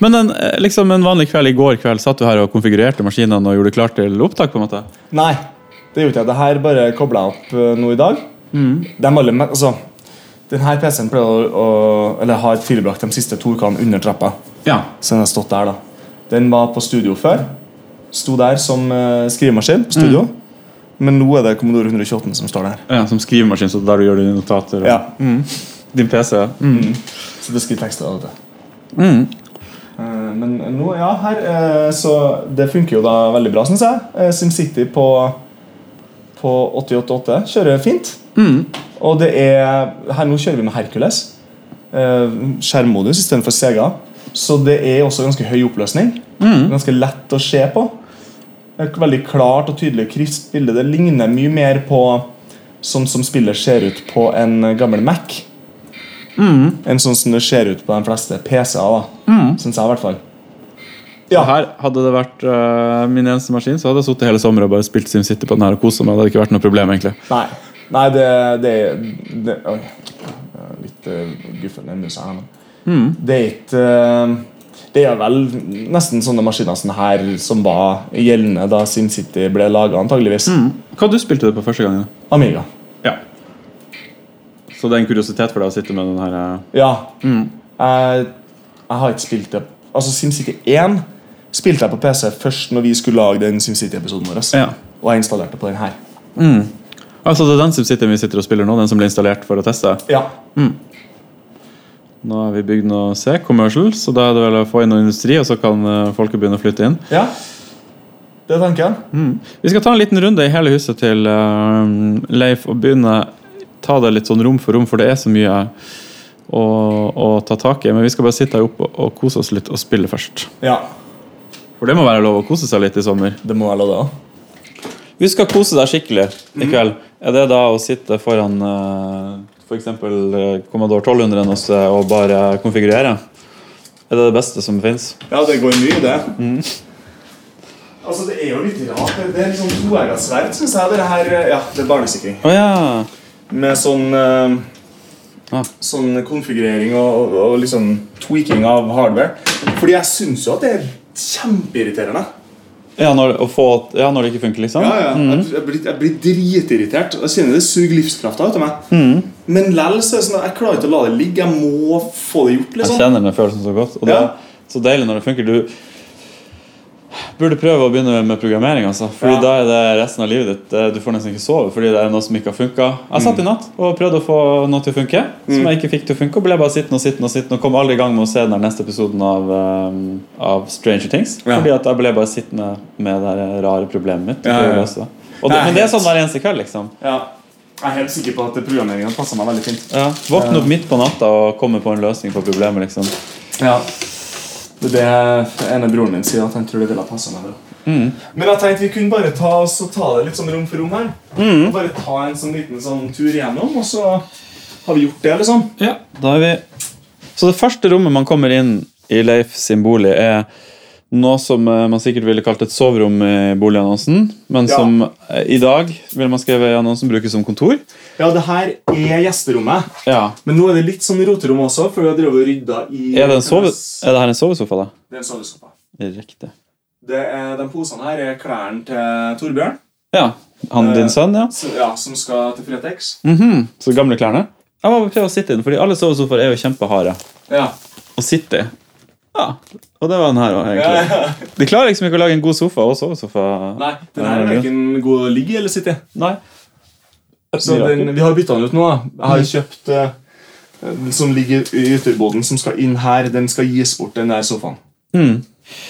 Men en, eh, liksom en vanlig kveld i går kveld satt du her og konfigurerte maskinene og gjorde klart til opptak? på en måte.
Nei, det gjorde ikke jeg. Det her bare kobla jeg opp eh, nå i dag. De alle, men- altså, denne PC-en pleier å, å, eller har tilbrakt de siste to ukene under trappa.
Ja.
Så den har stått der da. Den var på studio før. Sto der som eh, skrivemaskin på studio. Men nå er det Commodore 128 som står der.
ja som skrivemaskin, så der du gjør dine notater og
Ja,
din Mm. PC.
Så det skriver tekster av det.
Mm.
Eh, Men nå, ja, her eh, Så det funker jo da veldig bra, syns jeg. Eh, SimCity på, på 888 kjører fint.
Mm.
Og det er Her nå kjører vi med Hercules. Eh, Skjermmodus istedenfor Sega. Så det er også ganske høy oppløsning. Ganske lett å se på. Et veldig klart og tydelig krispt bilde. Det ligner mye mer på sånn som spillet ser ut på en gammel Mac enn sånn som det ser ut på de fleste PC-er. da Syns jeg, i hvert fall.
Og Her hadde det vært eh, min eneste maskin, så hadde jeg sittet hele sommeren og bare spilt SimCity på den her og koset meg. Det hadde ikke vært noe problem, egentlig.
Nei, Nei det, det, det Oi. Jeg er Litt uh, guffen i musa her, men Det er ikke eh, Det er vel nesten sånne maskiner som her som var gjeldende da SimCity ble laga, antageligvis.
Hva du spilte du på første gangen?
Amiga.
Ja. Så det er en kuriositet for deg å sitte med den her eh,
Ja. Jeg, jeg har ikke spilt det Altså SimCity 1 spilte jeg på PC først når vi skulle lage den SimCity-episoden vår.
Ja.
Og jeg installerte på den her.
Altså, Det er den SimCity vi sitter og spiller nå, den som ble installert for å teste?
Ja.
Nå har vi bygd noe C, commercial, så da er det vel å få inn noe industri, og så kan eh, folket begynne å flytte inn.
Ja. Det er tanken.
Vi skal ta en liten runde i hele huset til eh, Leif og begynne ta det litt sånn rom for rom, for det er så mye å, å ta tak i. Men vi skal bare sitte her oppe og, og kose oss litt og spille først.
Ja.
For det må være lov å kose seg litt i sommer.
Det må jeg la det òg.
Vi skal kose deg skikkelig i kveld. Er det da å sitte foran eh, for eksempel eh, Commodore 1200 hos deg og bare konfigurere? Er det det beste som fins?
Ja, det går mye, det. Altså, Det er jo litt rart. Det- Det er liksom toegga sverd, syns jeg. Det her, eh, ja, det er barnesikring.
Å ja.
Med sånn eh,
Ah.
Sånn konfigurering og, og, og liksom tweaking av hardware. Fordi jeg syns jo at det er kjempeirriterende.
Ja, når, å få, ja, når det ikke funker, liksom?
Ja, ja. Jeg, jeg, blir, jeg blir dritirritert. og Jeg kjenner det suger livskrafta ut av meg.
Mm.
Men lell så er det sånn at jeg klarer ikke å la det ligge. Jeg må få det gjort.
Jeg
liksom
kjenner den følelsen så godt. Og det
Ja.
er så deilig når det funker. Du burde prøve å begynne med programmering. Altså, fordi
Ja.
da er det resten av livet ditt. Det- Du får nesten ikke sove fordi det er noe som ikke har funka. Jeg satt i natt og prøvde å få noe til å funke,
Mm.
som jeg ikke fikk til å funke. Og ble bare sittende og sittende og sittende Og kom aldri i gang med å se den her neste episoden av, eh, av Stranger Things.
Ja.
Fordi at jeg ble bare sittende med det her rare problemet mitt.
Ja, ja, ja.
Og det, men det er sånn hver eneste kveld, liksom.
Ja. Jeg er helt sikker på at programmeringa passer meg veldig fint.
Ja. Våkne opp midt på natta og komme på en løsning på problemet, liksom.
Ja. Det er det ene broren min sier, at han tror det ville ha passet meg. bra.
Mm.
Men jeg tenkte vi kunne bare ta, oss og ta det litt sånn rom for rom her.
Mm.
Og Bare ta en sånn liten sånn tur igjennom, og så har vi gjort det, liksom.
Ja, da er vi Så det første rommet man kommer inn i Leif sin bolig, er noe som eh, man sikkert ville kalt et soverom i boligannonsen, men
Ja.
som eh, i dag vil man skrive i annonsen brukes som kontor.
Ja, det her er gjesterommet.
Ja.
Men nå er det litt sånn roterom også, for vi har drevet og rydda i
Er det, en sove, er det her en sovesofa, da?
Det er en sovesoffa.
Riktig.
Det er, de posene her er klærne til Torbjørn,
Ja. Han
Eh.
din sønn, ja.
som, ja, som skal til Fretex.
Mhm, Så gamle klærne. Jeg må prøve å sitte i den, fordi alle sovesofaer er jo kjempeharde
Ja.
å sitte i. Ja, Og det var den her òg,
Ja,
egentlig.
ja.
De klarer liksom ikke å lage en god sofa og sovesofa.
[laughs] Nei, den her er verken god å ligge i eller sitte i.
Nei.
Så den, vi har bytta den ut nå. da. Jeg har kjøpt eh, den som ligger i ytterboden, som skal inn her. Den skal gis bort, den der sofaen.
Hmm.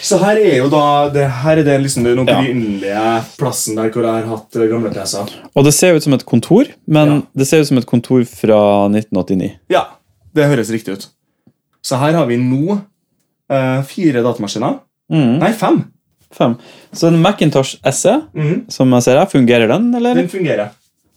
Så her er jo da det her er det liksom den opprinnelige plassen der hvor jeg har hatt eh, gamle PC-er.
Og det ser ut som et kontor, men
Ja.
det ser ut som et kontor fra 1989.
Ja, det høres riktig ut. Så her har vi nå eh, fire datamaskiner. Nei, fem.
Hmm, Fem. Så en Macintosh SE,
Mhm.
som jeg ser her, fungerer den, eller?
Den fungerer.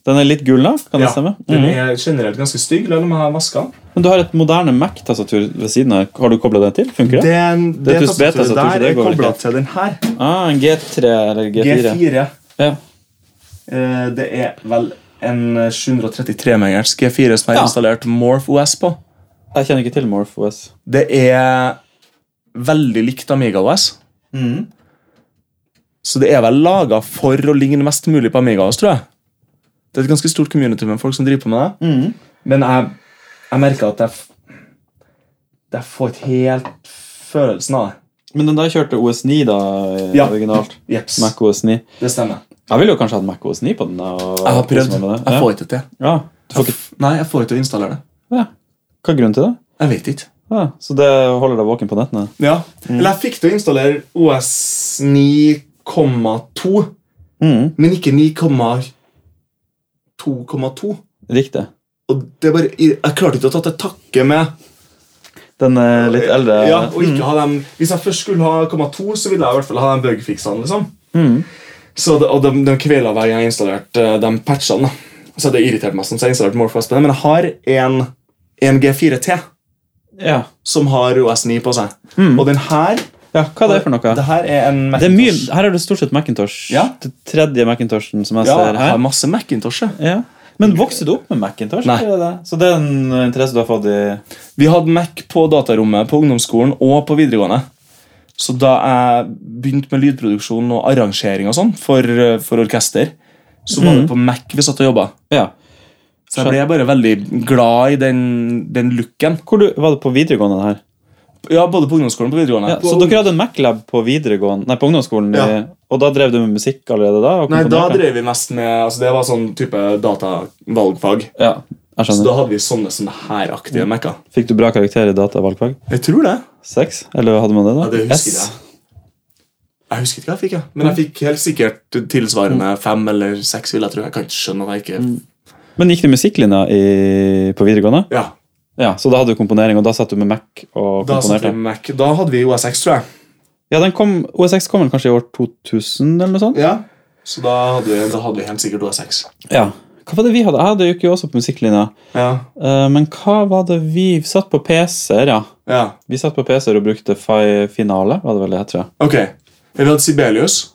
Den er litt gulna, kan det
Ja,
stemme?
Den
Mhm.
er generelt ganske stygg, la meg ha vaska den.
Men du har et moderne Mac-tastatur ved siden av. Har du kobla den til? Funker det?
Den-
Det er
Det
et USB-tastatur, så
tastaturet der
det
er
går vel
kobla
ikke.
til den her.
Ah, en G3 eller G4.
G4.
Ja.
Eh, Det er vel en eh, 733 megers G4 som er
Ja.
installert Morph OS på.
Jeg kjenner ikke til Morph OS.
Det er veldig likt Amiga OS. Hmm. Så det er vel laga for å ligne mest mulig på Amiga OS, tror jeg. Det er et ganske stort community med folk som driver på med det.
Mm.
Men jeg, jeg merker at jeg, f- jeg får ikke helt følelsen av det.
Men den der kjørte OS9, da,
Ja.
originalt.
Jeps,
Mac OS9.
det stemmer.
Jeg ville jo kanskje hatt Mac OS9 på den. da, Og
Jeg har prøvd.
kose meg med det.
Jeg får ikke til.
Ja. ja. Du får ikke...
Nei, jeg får ikke til å installere det.
ja. Hva er grunnen til det?
Jeg vet ikke.
Ja. Så det holder deg våken på nettene?
Ja.
Mm.
Eller jeg fikk til å installere OS 9,2,
Mhm.
men ikke 9,2,2.
Riktig.
Og det er bare, Jeg klarte ikke å ta til takke med
Den er litt eldre. Mm.
ja, og ikke ha dem, Hvis jeg først skulle ha 0,2, så ville jeg i hvert fall ha de bugfiksene. liksom.
Mm.
Så det, og de, de kvela hver gang jeg installerte eh, de patchene. da. Så det irriterte meg, sånn, så jeg installerte Morphos på det. Men jeg har en, en G4T
Ja.
som har OS9 på seg. Og den her
ja, Mm. hva er det for noe?
Det her er en
Det er mye,
Macintosh.
her er det stort sett Macintosh.
Ja.
Det tredje Macintoshen som jeg
Ja,
ser
jeg har
her.
masse Macintosh. jeg.
Ja. Men vokste du opp med Macintosh?
Nei.
eller er det- Så det er en interesse du har fått i
Vi hadde Mac på datarommet på ungdomsskolen og på videregående. Så da jeg begynte med lydproduksjon og arrangering og sånn for, eh, for orkester, så var det på Mac vi satt og jobba.
Ja.
Så jeg ble bare veldig glad i den, den looken.
Hvor du, var det på videregående her?
Ja, både på ungdomsskolen og på videregående.
Ja, så dere hadde en Mac-lab på videregående Nei, på ungdomsskolen, i-
Ja.
og da drev du med musikk allerede da? og
Nei, da
komponerte?
drev vi mest med altså Det var sånn type datavalgfag.
Ja, jeg
Så
skjønner.
da hadde vi sånne, sånne her-aktige Mac-er.
Fikk du bra karakter i datavalgfag?
Jeg tror det.
Seks? Eller hadde man det, da?
Ja, det husker
S?
jeg. Jeg husker ikke hva jeg fikk, jeg. men jeg fikk helt sikkert tilsvarende fem eller seks. vil Jeg tro. Jeg kan ikke skjønne at jeg ikke
Men gikk du musikklinja i, på videregående?
Ja,
Ja, Så da hadde du komponering, og da satt du med Mac og
Da,
komponerte?
satt jeg med Mac. da hadde vi OSX, tror jeg.
Ja, den kom, OSX kom vel kanskje i år 2000, eller noe sånt?
Ja. Så da hadde, vi, da hadde vi helt sikkert OSX.
Ja. Hva var det vi hadde? Jeg hadde jo ikke også på musikklinja.
Ja,
Eh, men hva var det vi Vi satt på PC-er, ja.
ja.
Vi satt på PC-er og brukte Fi Finale, var det vel det het, tror jeg.
Ok, vi hadde Sibelius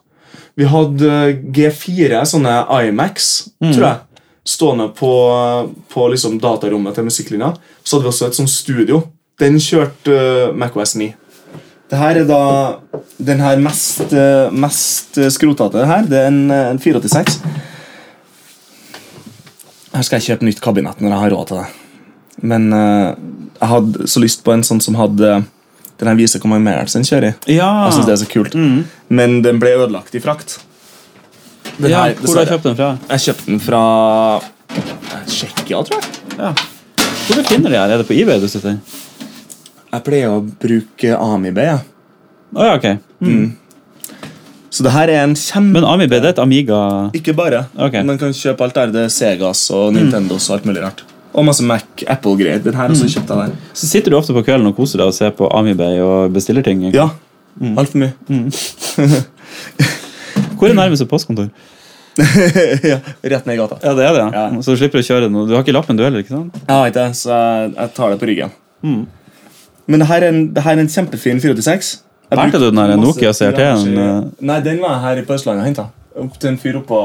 Vi hadde eh, G4 Sånne IMAX, tror jeg Stående på, på liksom datarommet til musikklinja Så hadde vi også et sånt studio Den kjørte eh, macOS 9 det her er da den her mest, eh, mest eh, skrotete her. Det er en, eh, en 486. Her skal jeg kjøpe nytt kabinett når jeg har råd til det. Men eh, jeg hadde så lyst på en sånn som hadde den her viser hvor mange megahertz den kjører i.
Ja.
Jeg synes det er så kult. Men den ble ødelagt i frakt. Den
ja hvor har
her,
du
dessverre.
kjøpt den fra?
Jeg kjøpte den fra eh, Tsjekkia, tror jeg.
Hvor du finner de her? Er det på eBay du sitter?
Jeg pleier å bruke Amibay. jeg.
Å ja, ok.
Så det her er en kjempe...
Men Amibay, det er et Amiga
Ikke bare.
Ok.
Man kan kjøpe alt der. Det er Segas og Nintendos og alt mulig rart. Og masse Mac, Apple-greier. Den her også kjøpte jeg der.
Så sitter du ofte på kvelden og koser deg og ser på Amibay og bestiller ting. ikke?
Ja. Altfor mye.
Hvor er nærmeste postkontor?
[laughs] ja. Rett ned i gata.
Ja, det er det.
Ja.
Så du slipper å kjøre noe. Du har ikke lappen du heller, ikke sant?
Jeg har ikke det, så jeg, jeg tar det på ryggen.
Mm.
Men det her er en, det her er en kjempefin 486. Jeg
Lærte
brukte
du den her
masse
Nokia CRT -en, eh,
programmer- Nei, den var jeg her i på Østlandet og henta. Opp til en fyr oppå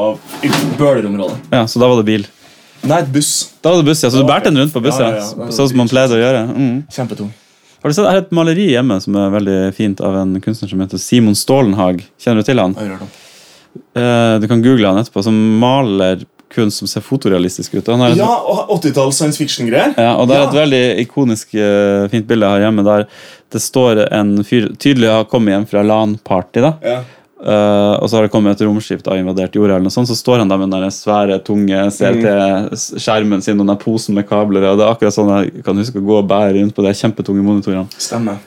i Bøler-området.
Ja, Så da var det bil.
Nei, et buss.
Da var det buss, ja. Så du bærte den rundt på buss,
Ja,
ja.
ja, ja.
Sånn som man pleide å gjøre. Mm.
Kjempetung.
Har du sett, Jeg har et maleri hjemme som er veldig fint av en kunstner som heter Simon Stålenhag. Kjenner du til han?
Jeg hører det.
Eh, du kan google han etterpå. Som maler kunst som ser fotorealistisk ut. Han har et
Ja, og 80-talls science fiction-greier.
Ja, og det er et
Ja.
veldig ikonisk eh, fint bilde jeg har hjemme der det står en fyr tydelig har kommet hjem fra LAN-party. da
Ja.
Eh, og så har det kommet et romskip og invadert jorda, eller noe sånt, så står han der med den der svære, tunge
Mm.
CRT-skjermen sin og den der posen med kabler. Og det er akkurat sånn jeg kan huske å gå og bære rundt på de kjempetunge monitorene.
Stemmer.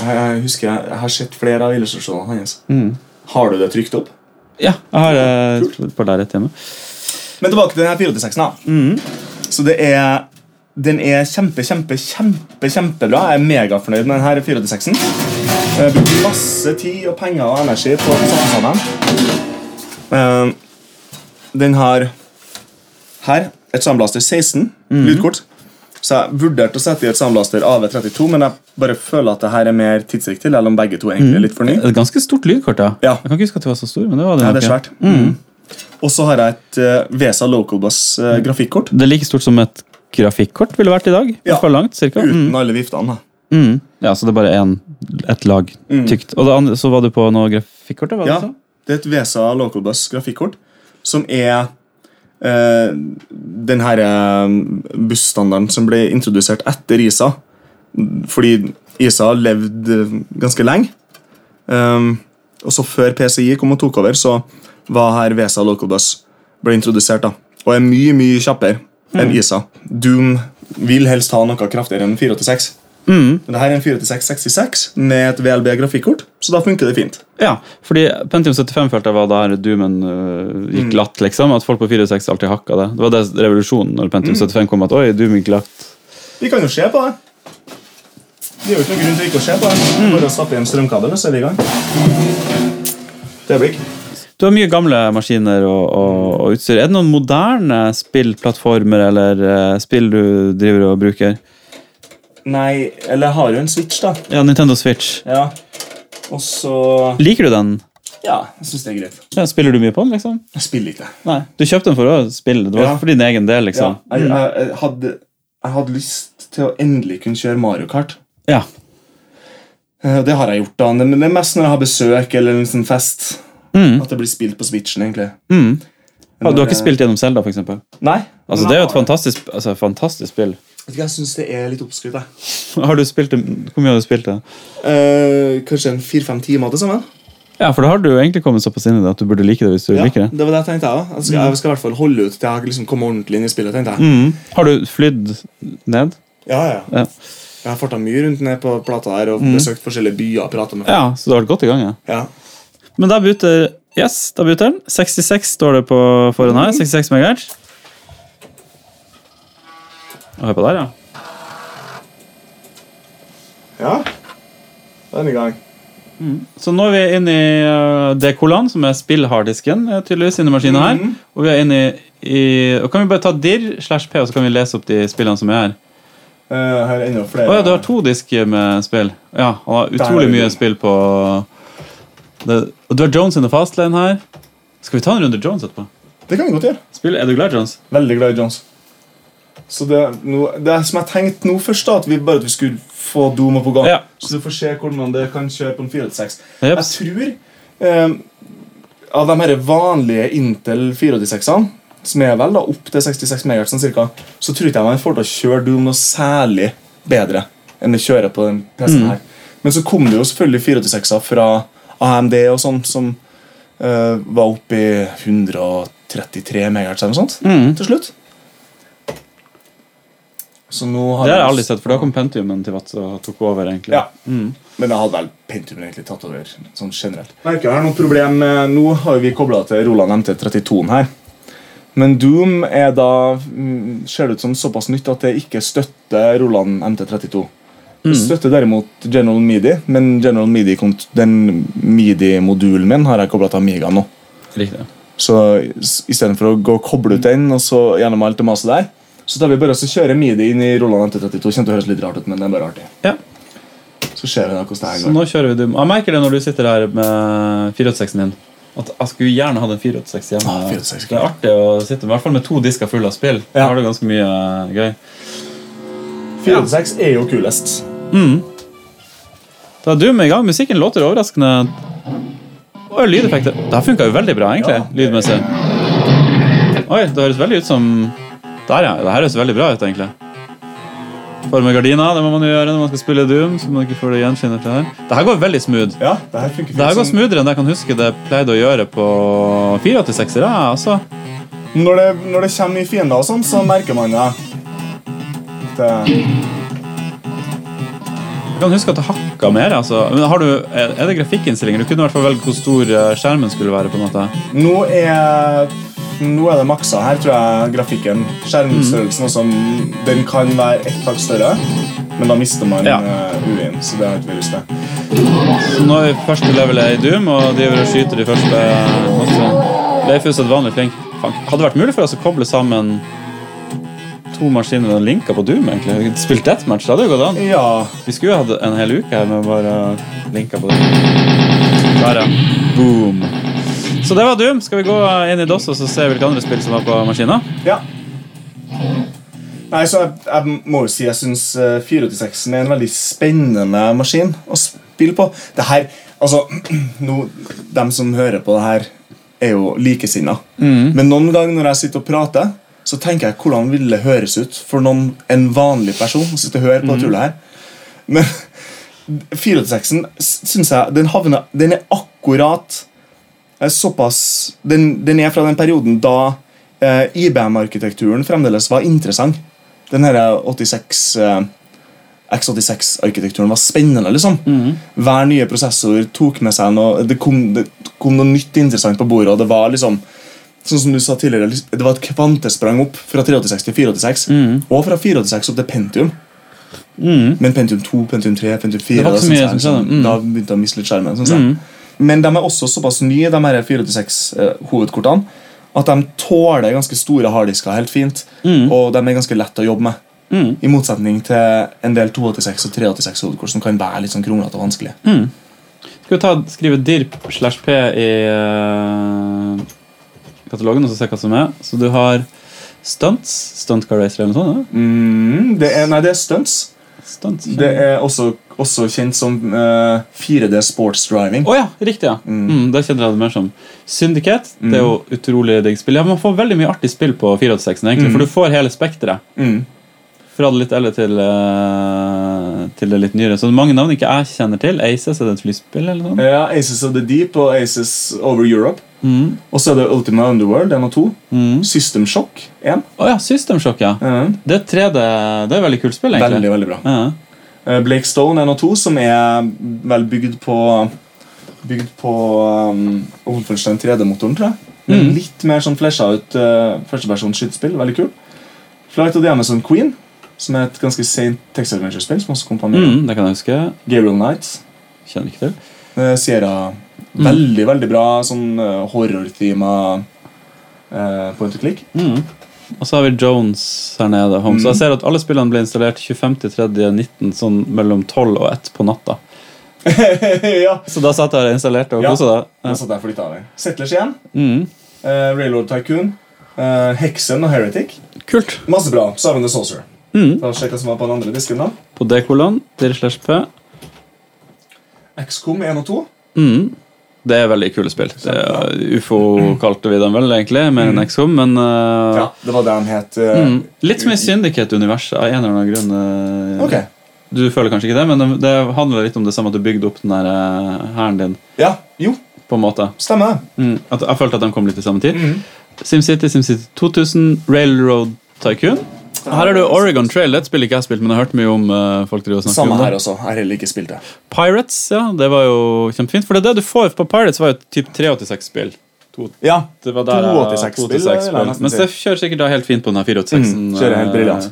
Jeg, jeg husker jeg, jeg har sett flere av illustrasjonene hans.
Mm.
Har du det trykt opp?
Ja, jeg har eh, et par lerret hjemme.
Men tilbake til den her 486-en. da. Så det er Den er kjempe, kjempe, kjempe, kjempebra. Jeg er megafornøyd med den her 486-en. Jeg brukte masse tid og penger og energi på å sette sammen. Eh, Den har her et Soundblaster 16 lydkort. Så jeg vurderte å sette i et Soundblaster AV32, men jeg bare føler at det her er mer tidsriktig. Selv om begge to egentlig er litt for nye.
Et ganske stort lydkort, da.
Ja.
Jeg kan ikke huske at det var så stor, men det var det.
Ja,
nok,
det er svært. Mm. Og så har jeg et eh, Vesa Localbus eh, grafikkort.
Det er like stort som et grafikkort ville vært i dag. I
Ja.
hvert fall langt, cirka. Mm.
Uten alle viftene. da.
Mm. Ja, så det er bare en, et lag tykt. Og det andre, så var du på noe grafikkort? Var det
Mm. Ja,
sånn?
det er et Vesa Localbus grafikkort som er eh, den her eh, busstandarden som ble introdusert etter ISA. Fordi ISA levde ganske lenge. Um, og så før PCI kom og tok over, så var her Vesa Localbus ble introdusert. da. Og er mye, mye kjappere
Mm.
enn ISA. Doom vil helst ha noe kraftigere enn 486.
Mm.
Men det her er en 486-66 med et VLB-grafikkort, så da funker det fint.
Ja, fordi Pentium 75 følte jeg var der doomen øh, gikk latt, liksom. At folk på 4.6 alltid hakka det. Det var det revolusjonen når Pentium 75 kom, at oi, doom gikk latt.
Vi kan jo se på det. Det er jo ikke noen grunn til ikke å se på det. Bare å stappe i en strømkabel, så er vi i gang. Det er blikk.
Du har mye gamle maskiner og, og, og utstyr. Er det noen moderne spillplattformer eller eh, spill du driver og bruker?
Nei, eller jeg har jo en switch, da.
Ja, Nintendo Switch.
Ja. Og så
Liker du den?
Ja, jeg syns det er greit.
Ja, spiller du mye på den, liksom?
Jeg spiller ikke. Sånn.
Nei. Du kjøpte den for å spille. Det var
Ja.
for din egen del, liksom.
jeg, jeg, jeg, hadde, jeg hadde lyst til å endelig kunne kjøre Mario Kart.
Ja.
Eh, Det har jeg gjort, da. men det er mest når jeg har besøk eller en sånn fest.
Mm.
At det blir spilt på switchen, egentlig.
Mm.
Men
Du har
når
ikke
jeg-
spilt gjennom Zelda, for eksempel?
Nei.
Altså, det er jo et fantastisk, altså, fantastisk spill. [laughs]
Vet du hva, Jeg syns det er litt oppskrytt. jeg.
Har du spilt det, Hvor mye har du spilt det?
Eh, kanskje en fire-fem timer til sammen.
Ja, for da har du jo egentlig kommet såpass inn i det at du burde like det hvis du
Ja,
liker det.
det var det jeg tenkte jeg også. Jeg skal, jeg skal i hvert fall holde ut til jeg liksom kommer ordentlig inn i spillet. tenkte jeg.
Mm. Har du flydd ned?
Ja, ja.
Ja. Mm.
Jeg har farta mye rundt ned på plata her og besøkt forskjellige byer og prata med folk.
ja, så du har vært godt i gang, ja.
Ja.
Men da buter Yes, da buter den. 66 står det på foran her. 66 MHz. Og Hør på der, ja.
Ja. Denne gang.
Så nå er vi inne i uh, Dekolan, som er spillharddisken, eh, tydeligvis, inni maskinen her. Og vi er inne i Og kan vi bare ta dirr slash p, og så kan vi lese opp de spillene som er her.
Eh, her er enda flere.
Å ja, du har to disker med spill. Ja, han har
Der er
utrolig
det.
mye spill på det. Og du har Jones in the fast lane her. Skal vi ta en runde Jones etterpå?
Det kan vi godt gjøre.
Spill, Er du glad, Jones?
Veldig glad i Jones. Så det, nå, det er som jeg tenkte nå først, da, at vi bare at vi skulle få Doom opp og gang.
Ja.
Så du får se hvordan det kan kjøre på en 486.
Jeps.
Jeg tror eh, av de her vanlige Intel 486-ene, som er vel da opp til 66 MHz, cirka, så tror ikke jeg man får til å kjøre Doom noe særlig bedre enn det kjører på den
Mm.
PC-en her. Men så kom det jo selvfølgelig 486-er fra AMD og sånn, som eh, var oppe i 133 MHz eller noe
Mm.
sånt til slutt. Så nå har
Det har jeg
jeg-
aldri sett, for da kom Pentiumen til Vadsø og tok over. egentlig. Mm.
ja. Mm. Men jeg hadde vel Pentium egentlig tatt over sånn generelt. Merker jeg har noe problem med, Nå har jo vi kobla til Roland MT32-en her. Men Doom er da, mm, ser det ut som såpass nytt at det ikke støtter Roland MT32.
Mm.
Det støtter derimot General Midi, men General Midi, kont- den Midi-modulen min har jeg kobla til Amiga nå.
Riktig.
Så s- istedenfor å gå og koble ut den, og så gjennom alt det maset der, så tar vi bare og så kjører Midi inn i Roland MT32. Kjente det høres litt rart ut, men det er bare artig.
Ja,
Så ser vi da hvordan det her
Så
går.
nå kjører vi dum. Jeg merker det når du sitter her med 486-en din. At Jeg skulle gjerne hatt en 486 hjemme.
Ah, 486,
det er artig å sitte med, i hvert fall med to disker fulle av spill. Da
Ja.
har du ganske mye eh, gøy.
486 er jo kulest.
Da er Doom i gang. Musikken låter overraskende. Og lydeffekter. Det her funka jo veldig bra, egentlig. Lydmessig. Oi, det høres veldig ut som Der, ja. Det her høres veldig bra ut, egentlig. Forme gardina, det må man jo gjøre når man skal spille Doom. Så man ikke får det gjenskinnet til her. Det her går veldig smooth.
Ja, det her funker
Det her
fint
går
som-
smoothere enn jeg kan huske det pleide å gjøre på 486-ere. ja, Altså.
Sånn, Når det, når det kommer i fiender og sånn, så merker man det. det.
Jeg kan huske at det hakka mer. Altså. Men har du, er er det grafikkinnstillinger? Du kunne i hvert fall velge hvor stor eh, skjermen skulle være. på en måte.
Nå er nå er det maksa her, tror jeg, grafikken. Skjermstørrelsen også. Den kan være ett hakk større, men da mister man
Ja.
eh, UI-en. Så det har ikke vi lyst til.
Så nå er vi på første level i Doom og driver og skyter de første monstrene. Leif er usedvanlig flink. Fank. Hadde det vært mulig for oss å koble sammen to maskiner og linker på Doom? egentlig? Spilt deathmatch, det hadde jo gått an.
Ja,
Vi skulle jo hatt en hel uke her med bare linker på det. Der, ja. Boom. Så det var Doom. Skal vi gå inn i DOS og så se hvilke andre spill som var på maskina?
Ja. Nei, så jeg, jeg må jo si jeg syns 486-en er en veldig spennende maskin å spille på. Det her, altså, [clears throat] nå, dem som hører på det her, er jo likesinna. Men noen ganger når jeg sitter og prater, så tenker jeg hvordan ville det høres ut for noen, en vanlig person å sitte og høre på det tullet her. Men [laughs] 486-en syns jeg den, havner, den er akkurat er Eh, såpass den, den er fra den perioden da eh, IBM-arkitekturen fremdeles var interessant. Den her 86 eh, X86-arkitekturen var spennende, liksom. Hver nye prosessor tok med seg noe det kom, det kom noe nytt interessant på bordet, og det var liksom Sånn som du sa tidligere, Det var et kvantesprang opp fra 386 til 486.
Mm.
Og fra 486 opp til Pentium.
Mhm.
Men Pentium 2, Pentium 3, Pentium 4
Det var ikke
da
så
synes
mye
jeg
som skjedde. Mm.
liksom- Da begynte jeg å miste litt skjermen. sånn Synes jeg. Men de er også såpass nye, de her 486-hovedkortene, eh, at de tåler ganske store harddisker helt fint.
Mhm.
Og de er ganske lette å jobbe med. I motsetning til en del 286 og 386-hovedkort, som kan være litt sånn kronglete og vanskelig.
Hmm. Skal vi ta, skrive dirp slash p i eh, katalogen og så se hva som er? Så du har stunts. Stunt car racer eller noe sånt?
Mm, det er, nei, det er stunts.
Ja? Stunts.
Det er også, også kjent som eh, 4D sports driving.
Å ja, riktig. ja mm. Det kjenner jeg det mer som. Syndicate det er jo
Mm.
utrolig digg spill. Ja, Man får veldig mye artig spill på 486, egentlig, for du får hele spekteret.
Mm.
Fra det litt eldre til, eh, til det litt nyere. Så det er mange navn ikke jeg kjenner til. Aces, er det et flyspill? eller noe sånt?
Ja, Aces of the Deep og Aces Over Europe.
Mm.
Og så er det Ultima Underworld, én og to.
Mm.
System Shock, én.
Å ja, System Shock, ja.
Mhm.
Det er 3D. Det er veldig kult spill, egentlig.
Veldig, veldig bra.
Ja.
Eh, Blake Stone 1 og 2, som er vel bygd på bygd på um, Wolfenstein 3D-motoren, tror jeg. Men Litt mer sånn flesja ut uh, førstepersons skytespill. Veldig kul. Flight of the Amazon Queen, som er et ganske seint text adventure-spill. som også kom på mm.
Mm, det kan jeg huske.
Gabriel Knights.
Kjenner ikke til.
Eh, Sierra. Veldig, veldig bra sånn uh, horror-thema uh, point and click. [laughs]
Mm. Og så har vi Jones her nede. Home. Så
Mm.
jeg ser at alle spillene ble installert 25.3.19, sånn mellom 12 og 1 på natta.
ja.
Så da satt jeg og installerte og
Ja.
kosa deg.
Da satt jeg og flytta av deg. Settlers igjen.
Mm.
eh, Railroad Tycoon. eh, Hexen og Heretic.
Kult.
Masse bra. Simon the Saucer.
Mm.
Da sjekker jeg hva som var på den andre disken. da
På D-kolon, dir slash p.
XCOM 1 og 2.
Mm. Det er veldig kule spill. Det er, UFO kalte vi dem vel, egentlig, med en XCOM, men eh,
Mm. Ja, det var det han het. eh,
mm. Litt som i Syndicate-universet, av en eller annen grunn. eh,
Ok,
Du føler kanskje ikke det, men det- det handler litt om det samme at du bygde opp den der eh, hæren din,
ja, Jo,
på en måte.
stemmer det. Mm.
Mm. At jeg følte at de kom litt i samme tid. SimCity, SimCity 2000, Railroad Tycoon. Her er det Oregon Trail. Det er et spill ikke jeg har spilt, men jeg har hørt mye om eh, folk driver og snakker
Samme
om
her
det.
også. Jeg har heller ikke spilt det.
Pirates, ja. Det var jo kjempefint. For det er det du får på Pirates, var jo typ 386-spill.
Ja,
Det var der jeg-
286-spill,
286-spill.
vil jeg nesten
Men
si.
det kjører sikkert da helt fint på den her 486-en.
Mm, kjører helt briljant.
eh,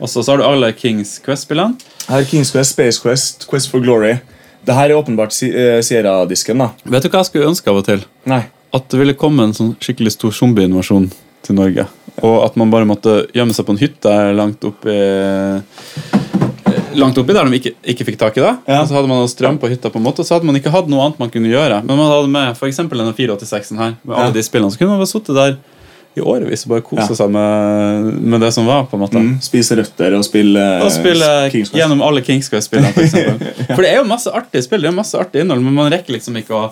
Og så så har du alle Kings Quest-spillene.
Her er Kings Quest, Space Quest, Quest for Glory. Det her er åpenbart si eh, Sierra-disken, da.
Vet du hva jeg skulle ønske av og til?
Nei.
At det ville komme en sånn skikkelig stor zombieinvasjon til Norge. Og at man bare måtte gjemme seg på en hytte langt oppi Langt oppi der de ikke, ikke fikk tak i det.
Ja.
Og så hadde man noe strøm på hytta, på en måte, og så hadde man ikke hatt noe annet man kunne gjøre. Men man hadde med for eksempel denne 486-en her, med alle
Ja.
de spillene. Så kunne man bare sittet der i årevis og bare kose
Ja.
seg med, med det som var. på en måte.
Mm. Spise røtter og spille eh,
Og spille
Kings Quest.
gjennom alle Kings Quest-spillene, for [laughs] eksempel. For det er jo masse artige spill, det er jo masse artig innhold, men man rekker liksom ikke å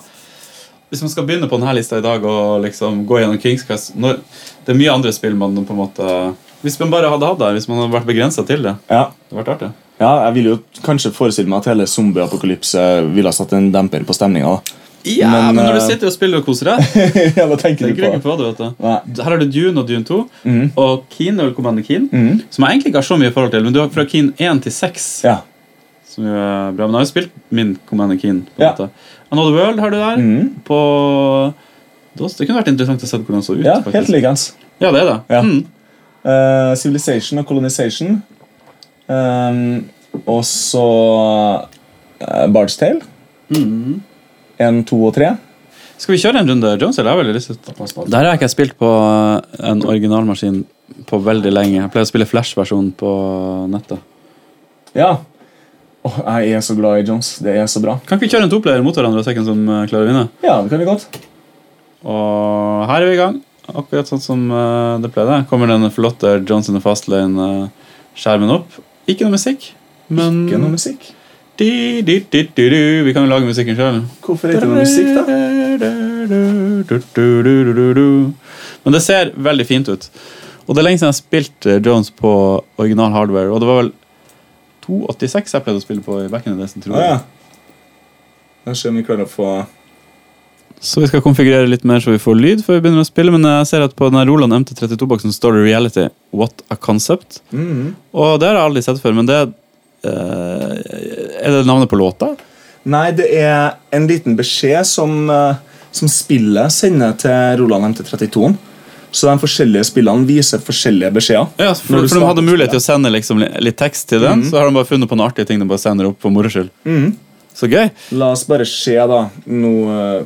Hvis man skal begynne på denne lista i dag og liksom gå gjennom Kings Quest når, Det er mye andre spill man på en måte Hvis man bare hadde hatt det, hvis man hadde vært begrensa til det.
Ja.
Det hadde vært artig.
ja, jeg vil jo kanskje forestille meg at hele zombieapokalypse ville ha satt en demper på
[laughs]
stemninga.
Ja,
Men,
men, når
eh,
du sitter og spiller og koser deg
ja, hva
tenker
tenker du
du [laughs] ikke
på?
på Mm. det, vet du.
Nei.
Her har du Dune og Dune 2 og Keen og Commander Keen,
Mhm.
som jeg egentlig ikke har så mye forhold til, men du har fra Keen 1 til 6.
Ja.
Som jo er bra, men jeg har jo spilt min Commander Keen. på en
Ja.
måte. Another World har du der.
Mhm.
På DOS. Det kunne vært interessant å se hvordan det så ut.
ja,
faktisk.
helt likens.
Ja, det er det.
Ja.
Mhm.
Eh, Civilization og Colonization. Ehm, og så eh, Bard's Tale. Én, to og tre.
Mhm. Skal vi kjøre en runde, Jones? eller? Jeg har veldig lyst til å- Der har ikke jeg spilt på eh, en originalmaskin på veldig lenge. Jeg pleier å spille Flash-versjonen på nettet.
Ja. Åh, jeg er så glad i Jones. Det er så bra.
Kan ikke vi kjøre en toplayer mot hverandre og se hvem som eh, klarer å vinne?
Ja, det kan vi godt.
Og her er vi i gang. Akkurat sånn som eh, det pleide. Kommer den flotte Jones in the fast lane-skjermen opp. Ikke noe musikk, men
Ikke noe musikk.
di, di, di, di, di. Vi kan jo lage musikken sjøl.
Hvorfor er det ikke noe musikk, da?
Men det ser veldig fint ut. Og det er lenge siden jeg har spilt eh, Jones på original hardware. Og det var vel 286 jeg pleide å spille på i back in the days. tror
Å
jeg.
Ah, ja. Da ser vi om vi klarer å få
Så vi skal konfigurere litt mer så vi får lyd før vi begynner å spille, men jeg ser at på den her Roland MT32-boksen står det 'Reality What a Concept'.
Mhm.
Og det har jeg aldri sett før, men det eh, Er det navnet på låta?
Nei, det er en liten beskjed som, eh, som spillet sender til Roland MT32. Så de forskjellige spillene viser forskjellige beskjeder.
Ja, for,
Når du
for de
starter
hadde mulighet til å sende liksom, li- litt tekst til den, så har de bare funnet på noen artige ting de bare sender opp for moro skyld.
Mhm.
Så gøy.
La oss bare se, da. Nå eh,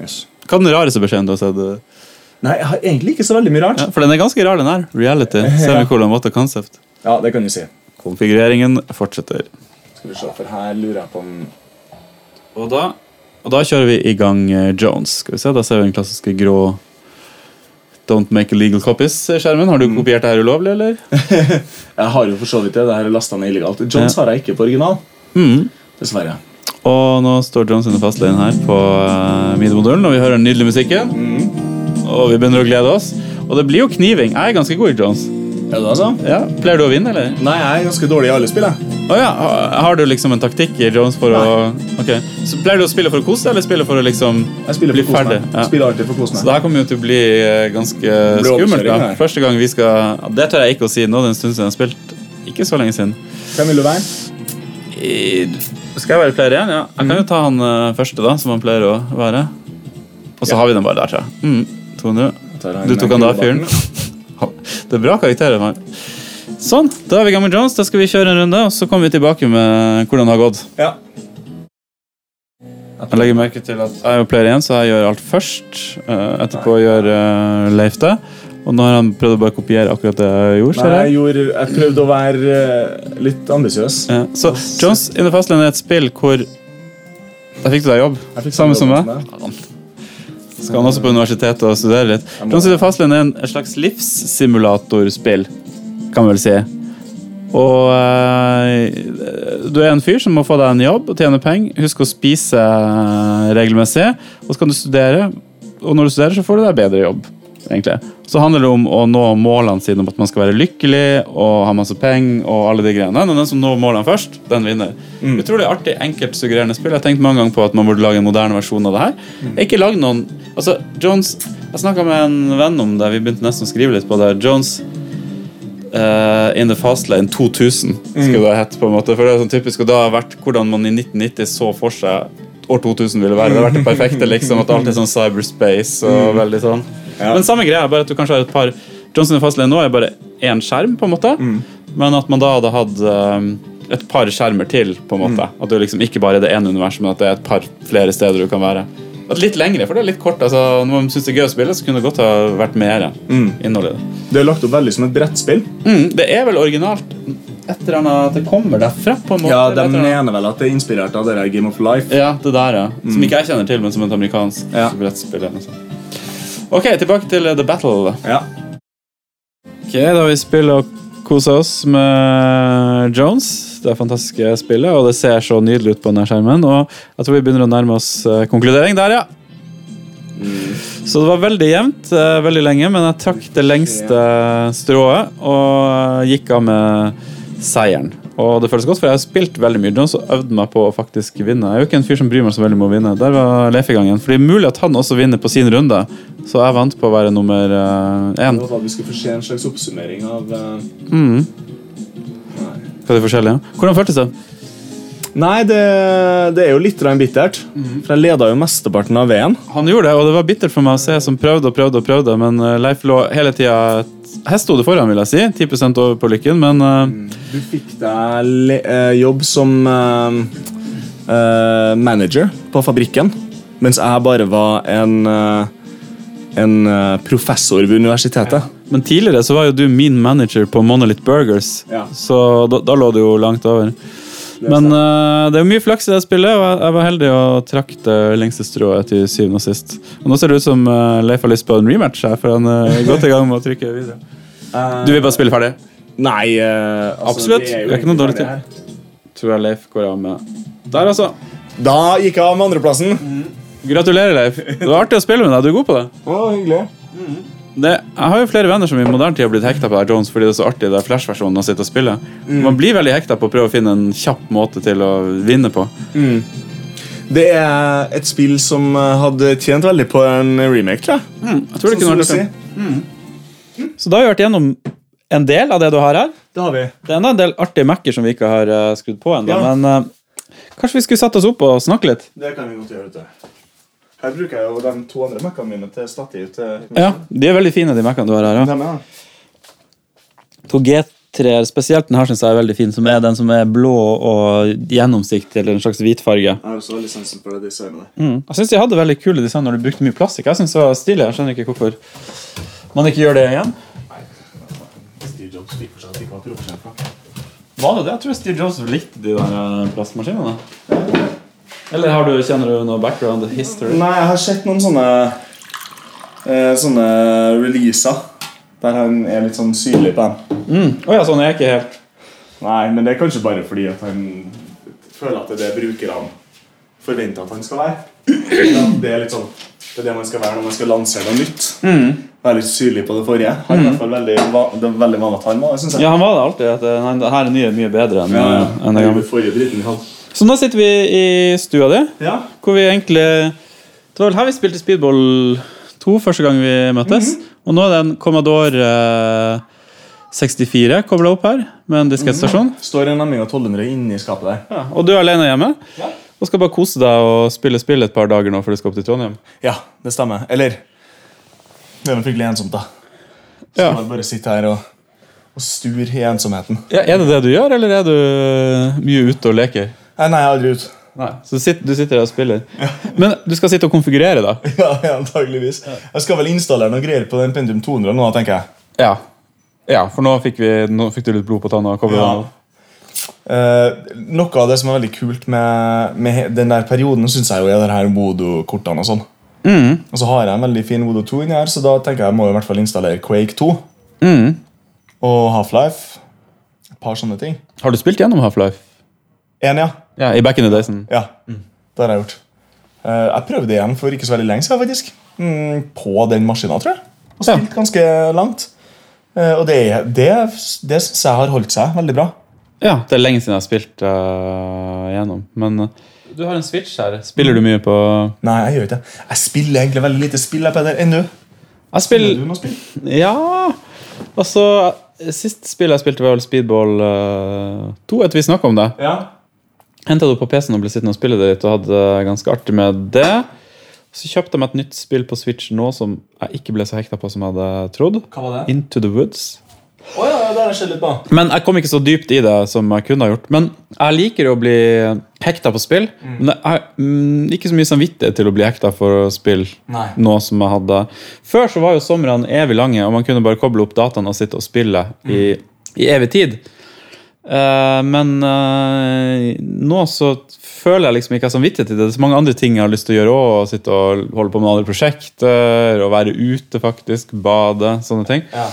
yes.
Hva er den rareste beskjeden du har sett? eh?
Nei, jeg har egentlig ikke så veldig mye rart.
Ja, for den er ganske rar, den her.
[laughs]
Reality. Semikolon, what a concept.
Ja, det kan du si.
Konfigureringen fortsetter.
Skal vi se, for her lurer jeg på om
Og da, og da kjører vi i gang eh, Jones. Skal vi se, Da ser vi den klassiske grå Don't make illegal copies-skjermen. Har du
Mhm.
kopiert det her ulovlig, eller?
Jeg har jo for så vidt det. Det her er lasta ned illegalt. Jones har jeg ikke på original. Mhm.
Mm.
Dessverre.
Og nå står Jones inne fast lane her på uh, midmodulen, og vi hører den nydelige musikken.
Mhm.
Og vi begynner å glede oss. Og det blir jo kniving. Jeg er ganske god i Jones.
Er det altså?
Ja, Pleier du å vinne, eller?
Nei, jeg er ganske dårlig i alle spill. jeg.
Å ja, ha- Har du liksom en taktikk i Jones for å Ok, så Pleier du å spille for å kose deg, eller spille for å liksom
Jeg spiller
bli
for å kose
ferdig?
meg.
Ja.
Spiller alltid for å kose
Så
meg.
det her kommer jo til å bli eh, ganske
blir
skummelt.
overkjøring
da
her.
Første gang vi skal Det tør jeg ikke å si nå, det er en stund siden jeg har spilt. Ikke så lenge siden.
Hvem vil du være?
I- Skal jeg være player igjen? Ja. Jeg kan jo ta han eh, første, da, som han pleier å være. Og så har vi den bare der, tror jeg. Mm. 200.
tar han
Du tok han da,
med
fyren? Det er bra karakterer. Man. Sånn, da er vi Gamma Jones. Da skal vi kjøre en runde, og så kommer vi tilbake med hvordan det har gått.
Ja.
Jeg legger merke til at jeg er jo player igjen, så jeg gjør alt først. eh, etterpå gjør eh, Leif det. Og nå har han prøvd å bare kopiere akkurat det jeg gjorde.
Nei,
ser jeg.
jeg, gjorde, jeg prøvde å være eh, litt ambisiøs.
Ja. Så Jones in the Fast Lane er et spill hvor Der fikk du deg jobb.
Jeg fikk
Samme
prøve
som
å
meg.
komme til
Skal han også på universitetet og studere litt. Jones in the Fast Lane er en- et slags livssimulatorspill, kan man vel si. Og eh, du er en fyr som må få deg en jobb og tjene penger. Husk å spise eh, regelmessig, og så kan du studere. Og når du studerer, så får du deg bedre jobb. egentlig. Så handler det om å nå målene sine, om at man skal være lykkelig og ha masse penger. og alle de greiene. Men den som når målene først, den vinner. Utrolig artig, enkelt, suggererende spill. Jeg har tenkt mange ganger på at man burde lage en moderne versjon av det her. Ikke lag noen... Altså, Jones, Jeg snakka med en venn om det, vi begynte nesten å skrive litt på det. Jones eh, In the fast lane 2000 skulle det hett, på en måte. For det er sånn typisk, og da har vært hvordan man i 1990 så for seg år 2000 ville være. Det har vært det perfekte, liksom, at alt er sånn cyberspace og veldig sånn.
Ja.
Men samme greia, bare at du kanskje har et par Johnson in the fast lane nå er bare én skjerm, på en måte. Men at man da hadde hatt eh, et par skjermer til, på en måte. At du liksom ikke bare er det ene universet, men at det er et par flere steder du kan være. At litt lengre, for det er litt kort. altså Når man syns det er gøy å spille, så kunne det godt ha vært mer innhold i det.
deg. Det er lagt opp veldig som et brettspill.
Mm, det er vel originalt et eller annet at det kommer derfra, på en måte.
Ja,
eller
De
et eller annet.
mener vel at det er inspirert av det der Game of Life.
ja det der, ja. Som ikke jeg kjenner til, men som et amerikansk
Mm. Ja.
brettspill. eller noe sånt. Ok, tilbake til eh, The Battle.
Ja.
Ok, Da har vi spilt og kosa oss med Jones. Det fantastiske spillet, og det ser så nydelig ut på denne skjermen. Og jeg tror vi begynner å nærme oss eh, konkludering der, ja. Så det var veldig jevnt eh, veldig lenge, men jeg trakk det lengste strået og gikk av med seieren. Og det føles godt, for jeg har spilt veldig mye Jones og øvd meg på å faktisk vinne. Jeg er jo ikke en fyr som bryr meg så veldig om å vinne. Der var Leif i gang igjen. For det er mulig at han også vinner på sin runde, så jeg vant på å være nummer eh, én.
Det var da vi skulle få se en slags oppsummering av eh,
Hva er det forskjellige? Hvordan føltes det?
Nei, det, det er jo litt grann bittert. For jeg leda jo mesteparten av veien.
Han gjorde det, og det var bittert for meg å se som prøvde og prøvde, og prøvde, men eh, Leif lå hele tida Hestehode foran, vil jeg si. 10 over på lykken, men eh,
Du fikk deg le eh, jobb som eh, eh, manager på fabrikken, mens jeg bare var en, eh, en eh, professor ved universitetet.
Men tidligere så var jo du min manager på Monolith Burgers,
Ja.
så da, da lå det jo langt over. Men eh, det er jo mye flaks i det spillet, og jeg, jeg var heldig og trakk det lengste strået til syvende og sist. Og nå ser det ut som eh, Leif har lyst på en rematch her, for han er godt i gang med å trykke videre.
[laughs] Eh,
Du vil bare spille ferdig?
Nei, eh, altså,
Absolutt.
vi er jo
Det er ikke noe
egentlig
dårlig
ferdig
tid.
her.
Tror jeg Leif går av med Der, altså.
Da gikk jeg av med andreplassen.
Gratulerer, Leif. Det var artig å spille med deg. Du er god på det.
Å, hyggelig.
det. Jeg har jo flere venner som i moderne tid har blitt hekta på det her Jones fordi det er så artig det er Flash-versjonen å sitte og spille.
Mm.
Man blir veldig hekta på å prøve å finne en kjapp måte til å vinne på.
Det er et spill som eh, hadde tjent veldig på en remake, tror jeg.
Mhm. Jeg tror det kunne
Sånn
vært
som du
artig.
sier.
Så da har vi vært gjennom en del av det du har her.
Det har vi.
Det er enda en del artige Mac-er som vi ikke har eh, skrudd på ennå,
Ja.
men eh, kanskje vi skulle satt oss opp og snakke litt?
Det kan vi godt gjøre, vet du. Her bruker jeg jo de to andre mekkene mine til stativ. til...
Ja, De er veldig fine, de Mac-ene du har her. Ja.
Dem, ja.
To G3-er, spesielt den her synes jeg er veldig fin, som er den som er blå og gjennomsiktig, eller en slags hvitfarge.
Jeg har også veldig sansen for det designet. der.
Mm. Jeg synes de hadde veldig kule design når de brukte mye plastikk. Jeg synes det var stilig, jeg skjønner ikke hvorfor man ikke gjør det igjen.
Steve Jobs fikk for seg at de ikke var profesjonelle fra.
Var det det? Jeg tror Steve Jobs likte de der eh, plastmaskinene. Eller har du, kjenner du noe background history?
Nei, jeg har sett noen sånne eh, Sånne releaser der han er litt sånn syrlig på dem.
Å ja, sånn er jeg ikke helt.
Nei, men det er kanskje bare fordi at han føler at det er det brukerne forventer at han skal være. At Det er litt sånn Det er det man skal være når man skal lansere noe nytt. Være litt syrlig på det forrige. Han er i hvert fall veldig, va- det er veldig vanlig at han var det, synes jeg.
Ja, han var det alltid. At eh, nei, det her er nye mye bedre enn eh, enn det gamle.
Den forrige dritten vi hadde.
Så nå sitter vi i stua di,
Ja.
hvor vi egentlig Det var vel her vi spilte
Mhm.
speedball 2 første gang vi møttes. Og nå er det en Commodore eh,
64 kobla opp her med en diskettstasjon.
Står en Amiga 1200 inni skapet der.
Mhm. Ja, og du er alene hjemme og skal bare kose deg og spille spill et par dager nå før du skal opp til Trondheim.
Ja, det stemmer. Eller Det er jo fryktelig ensomt, da. Så
Ja.
man bare sitter her og, og stur i ensomheten.
Ja, er det det du gjør, eller er du mye ute og leker?
Nei, nei, jeg er aldri ute.
Nei. Så du sitter, du sitter der og spiller. Men du skal sitte og konfigurere, da.
[laughs] Ja, ja, antageligvis. Jeg skal vel installere noe greier på den Pentium 200 nå, tenker jeg.
Ja, ja for nå fikk, vi, nå fikk du litt blod på tanna. og koblet den av.
Eh, noe av det som er veldig kult med, med he- den der perioden, syns jeg jo er de her Vodo-kortene og sånn. Og så har jeg en veldig fin Vodo 2 inni her, så da tenker jeg jeg må i hvert fall installere Quake 2.
Mm.
Og Half-Life. Et par sånne ting.
Har du spilt gjennom Half-Life?
Én, ja.
Ja, I Back in the Daysen.
Ja, det har jeg gjort. Eh, jeg prøvde igjen for ikke så veldig lenge siden, faktisk. Mm, på den maskina, tror jeg. Og
Ja.
spilt ganske langt. Eh, og det, det, det syns jeg har holdt seg veldig bra.
Ja, det er lenge siden jeg har spilt eh, gjennom. Men eh, du har en Switch her. Spiller du mye på
Nei, jeg gjør ikke det. Jeg spiller egentlig veldig lite spill, jeg, Peder, ennå.
Jeg
Spiller
spiller
du noe spill?
Ja! Altså, sist spill jeg spilte, var vel Speedball eh, 2, etter vi snakka om det.
Ja.
Henta det opp på PC-en og ble sittende og spille det litt og hadde det ganske artig med det. Så kjøpte jeg meg et nytt spill på Switch nå som jeg ikke ble så hekta på som jeg hadde trodd.
Hva var det?
Into the Woods.
Å ja, det har jeg sett litt på.
Men jeg kom ikke så dypt i det som jeg kunne ha gjort. Men jeg liker å bli hekta på spill. Men jeg har mm, ikke så mye samvittighet til å bli hekta for spill
Nei.
nå som jeg hadde. Før så var jo somrene evig lange, og man kunne bare koble opp dataene og sitte og spille i, i evig tid. Eh, men eh, nå så føler jeg liksom ikke jeg har samvittighet til det. Det er så mange andre ting jeg har lyst til å gjøre òg. Sitte og holde på med andre prosjekter, og være ute, faktisk. Bade, sånne ting.
Ja.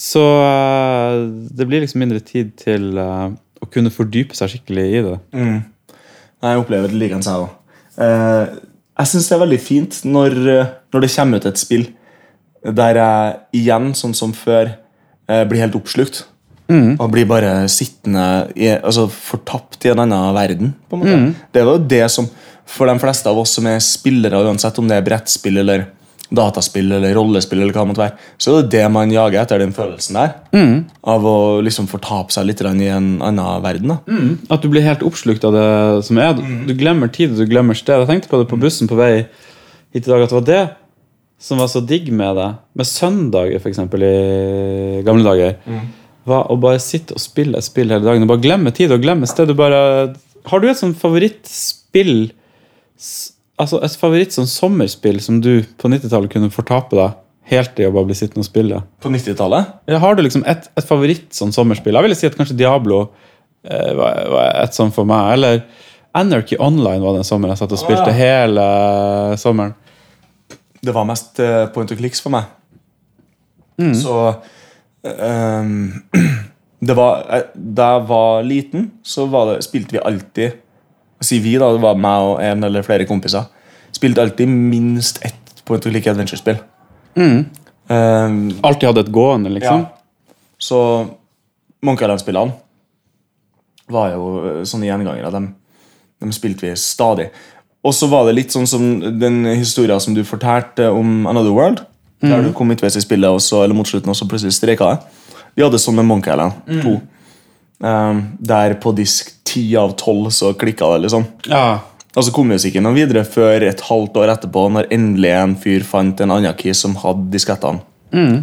Så eh, det blir liksom mindre tid til eh, å kunne fordype seg skikkelig i det.
Nei, jeg opplever det likeens, jeg òg. Eh, jeg syns det er veldig fint når, eh, når det kommer ut et spill der jeg igjen, sånn som før, eh, blir helt oppslukt. Og blir bare sittende i, altså fortapt i en annen verden. på en måte. Det var jo det som For de fleste av oss som er spillere, uansett om det er brettspill eller dataspill eller rollespill, eller hva det måtte være, så er det det man jager etter, den følelsen der. Av å liksom fortape seg litt grann i en annen verden. da.
At du blir helt oppslukt av det som er. Du glemmer tid, og du glemmer sted. Jeg tenkte på det på bussen på vei hit i dag, at det var det som var så digg med det. Med søndager, for eksempel, i gamle dager. Var å bare sitte og spille et spill hele dagen. Og bare glemme tid og glemme sted. Du bare Har du et sånt favorittspill s- Altså et favoritt sånn sommerspill som du på 90-tallet kunne fortape deg helt i å bare bli sittende og spille?
På 90-tallet
Eller har du liksom et, et favoritt sånn sommerspill? Jeg ville si at kanskje Diablo eh, var, var et sånn for meg. Eller Anarchy Online var den sommeren jeg satt og spilte
Ah, ja.
hele sommeren.
det var mest eh, point and clicks for meg. Så ehm, [clears throat] det var, eh, Da jeg var liten, så var det, spilte vi alltid Si vi, da. Det var meg og en eller flere kompiser. Spilte alltid minst ett point and click adventure-spill. Ehm,
Alltid hadde et gående, liksom.
Så Monkey Island-spillene var jo eh, sånne gjengangere. Dem, dem spilte vi stadig. Og så var det litt sånn som den historien som du fortalte om Another World. Der du kom midtveis i spillet, og så, eller mot slutten, og så plutselig streika det. Vi hadde sånn med Monkey Island 2. Eh, der på disk 10 av 12 så klikka det, liksom.
Ja.
Og så kom vi oss ikke noe videre før et halvt år etterpå, når endelig en fyr fant en annen key som hadde diskettene.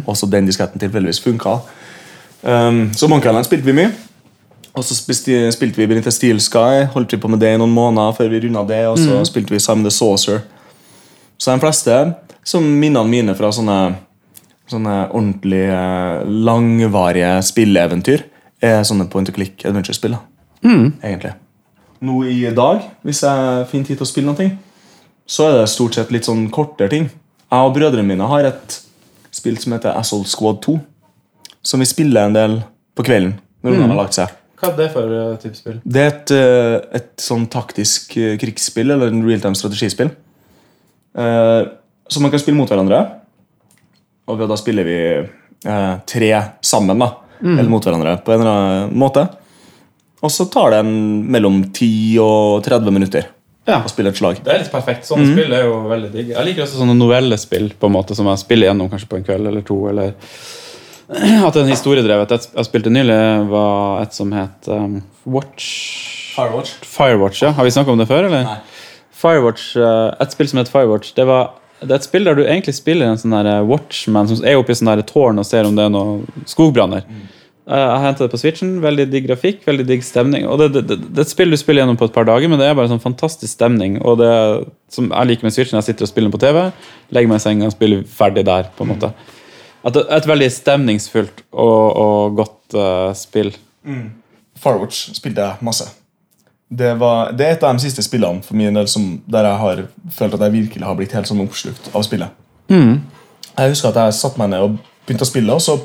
Og så den disketten tilfeldigvis funka. Um, så Monkey Island spilte vi mye. Og så spilte, spilte vi Brinte Steel Sky, holdt vi på med det i noen måneder før vi runda det. Og så spilte vi Simon the Saucer. Så de fleste som minnene mine fra sånne, sånne ordentlig eh, langvarige spilleeventyr, er sånne point and click adventure-spill. da. Egentlig nå i dag, hvis jeg finner tid til å spille noe, så er det stort sett litt sånn kortere ting. Jeg og brødrene mine har et spill som heter Asshole Squad 2, som vi spiller en del på kvelden når ungene har lagt seg.
Hva er det for eh, tipsspill?
Det er et, eh, et sånn taktisk eh, krigsspill, eller en realtime strategispill. Eh, som man kan spille mot hverandre. Og da spiller vi eh, tre sammen, da.
Mm.
Eller mot hverandre, på en eller annen måte. Og så tar det en mellom 10 og 30 minutter
Ja. Mhm.
å spille et slag.
Det er litt perfekt. Sånne spill er jo veldig digg. Jeg liker også sånne novellespill på en måte som jeg spiller gjennom kanskje på en kveld eller [clears throat] to. eller At det er en historiedrevet. Et jeg spilte nylig, var et som het um, Watch
Firewatch.
Firewatch, ja. Har vi snakka om det før, eller?
Nei.
Firewatch, eh, Et spill som heter Firewatch, det var det er et spill der du egentlig spiller en sånn der eh, watchman som er oppe i sånn der tårn og ser om det er noen skogbranner. Eh, Jeg henta det på Switchen. Veldig digg grafikk, veldig digg stemning. Og det, det, det, det er et spill du spiller gjennom på et par dager, men det er bare sånn fantastisk stemning. Og det som jeg liker med Switchen, jeg sitter og spiller den på TV, legger meg i senga og spiller ferdig der. på en måte. At det er Et veldig stemningsfullt og, og godt eh, spill.
Firewatch spilte jeg masse. Det, var, det er et av de siste spillene for min del som, der jeg har følt at jeg virkelig har blitt helt sånn oppslukt av spillet. Mm. Jeg husker at jeg satte meg ned og begynte å spille, og så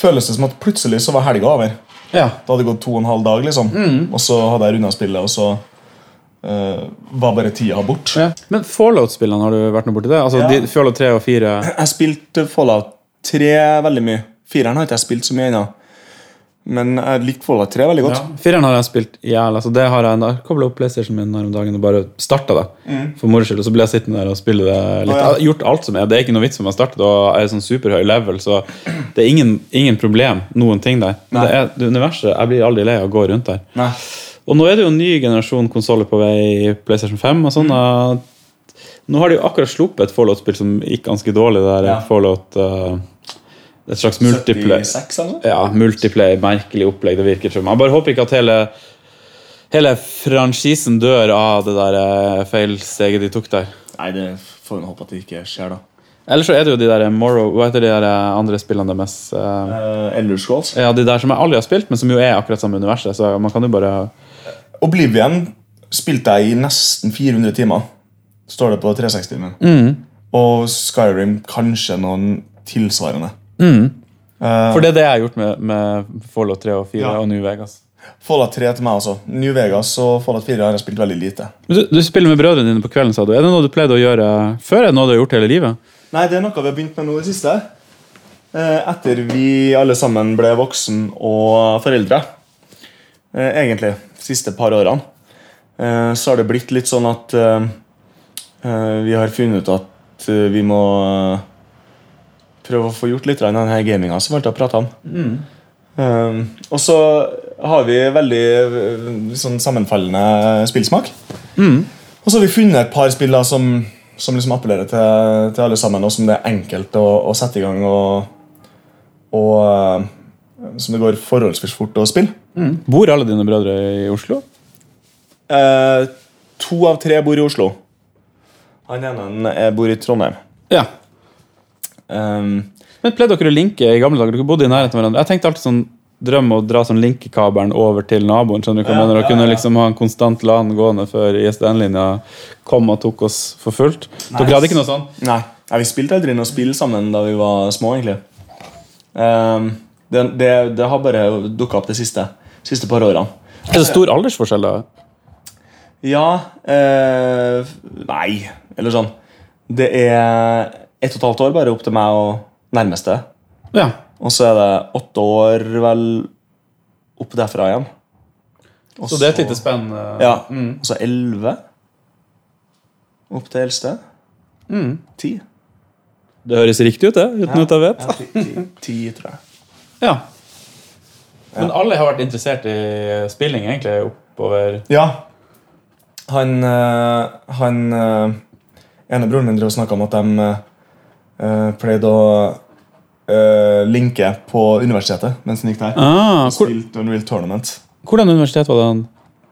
føles det som at plutselig så var helga over.
Ja.
Det hadde gått to og en halv dag, liksom. og så hadde jeg runda spillet, og så eh, var bare tida bort.
Men Fallout-spillene, har du vært noe borti det? Altså,
Ja.
de, Fallout 3 og 4
Jeg spilte Fallout 3 veldig mye. Fireren har ikke jeg spilt så mye ennå. Men jeg likte Fallout 3 veldig godt.
Fireren har jeg spilt i hjel. Altså, det har jeg kobla opp PlayStation min her om dagen og bare starta det. For moro skyld. Og så ble jeg sittende der og spille det litt.
Mm. Å,
Jeg
ja.
har gjort alt som er. Det er ikke noe vits om jeg startet og jeg er sånn superhøy level, så det er ingen, ingen problem. Noen ting der. Men det er det universet. Jeg blir aldri lei av å gå rundt der.
Nei.
Og nå er det jo en ny generasjon konsoller på vei, PlayStation 5 og sånn. og Nå har de jo akkurat sluppet et Fallout-spill som gikk ganske dårlig. Det der
Ja.
Fallout eh, Et slags multiplayer.
76 eller noe?
Ja, multiplayer, merkelig opplegg. Det virker som. Jeg bare håper ikke at hele Hele franchisen dør av det der eh, feilsteget de tok der.
Nei, det får vi håpe at det ikke skjer, da.
Eller så er det jo de der Morrow Hva heter de der eh, andre spillene deres? Eh,
Uh, Elder Scrolls.
Ja, de der som jeg aldri har spilt, men som jo er akkurat samme universet. Så man kan jo bare
Oblivion spilte jeg i nesten 400 timer. Står det på 360-timen. Og Skyrim kanskje noen tilsvarende.
For det er det jeg har gjort med, med Fallout 3 og 4
Ja.
og New Vegas.
Fallout 3 til meg også. New Vegas og Fallout 4 har jeg spilt veldig lite.
Men Du, du spiller med brødrene dine på kvelden, sa du. Er det noe du pleide å gjøre før? Er det noe du har gjort hele livet?
Nei, det er noe vi har begynt med nå i det siste. Eh, Etter vi alle sammen ble voksen og foreldre. Eh, Egentlig. Siste par årene. Eh, Så har det blitt litt sånn at eh, eh, vi har funnet ut at eh, vi må eh, prøve å få gjort litt av denne gaminga som vi alltid har prata om. Eh, og så har vi veldig eh, sånn sammenfallende spillsmak. Og så har vi funnet et par spill da, som, som liksom appellerer til, til alle sammen, og som det er enkelt å, å sette i gang og, og eh, Som det går forholdsvis fort å spille.
Bor alle dine brødre i Oslo?
Eh, to av tre bor i Oslo. Han ene eh, bor i Trondheim.
Ja.
Um,
Men pleide dere å linke i gamle dager? Dere bodde i nærheten av hverandre. Jeg tenkte alltid sånn drøm å dra sånn linkekabelen over til naboen. skjønner du hva jeg
Ja,
mener? Og
ja,
kunne
ja.
liksom ha en konstant LAN gående før ISDN-linja kom og tok oss for fullt. Dere hadde ikke noe sånn?
Nei, ja, vi spilte aldri noe spill sammen da vi var små, egentlig. Ehm, det, det, det har bare dukka opp de siste, siste par årene.
Er det stor aldersforskjell da?
Ja eh, Nei, eller sånn. Det er ett og et halvt år bare opp til meg og nærmeste.
Ja.
Og så er det åtte år vel opp derfra igjen. Og
Så det er et lite spenn? eh.
Ja. Og så elleve opp til eldste. Ti.
Det høres riktig ut, det, uten at jeg vet.
Ja, ti, ti, ti, tror jeg.
Ja. Men alle har vært interessert i spilling, egentlig, oppover
Ja. Han, eh, han eh, ene broren min drev og snakka om at de eh, pleide å eh, linke på universitetet mens han gikk der.
ah,
Og Spilte Unreal Tournament
Hvordan universitet var det han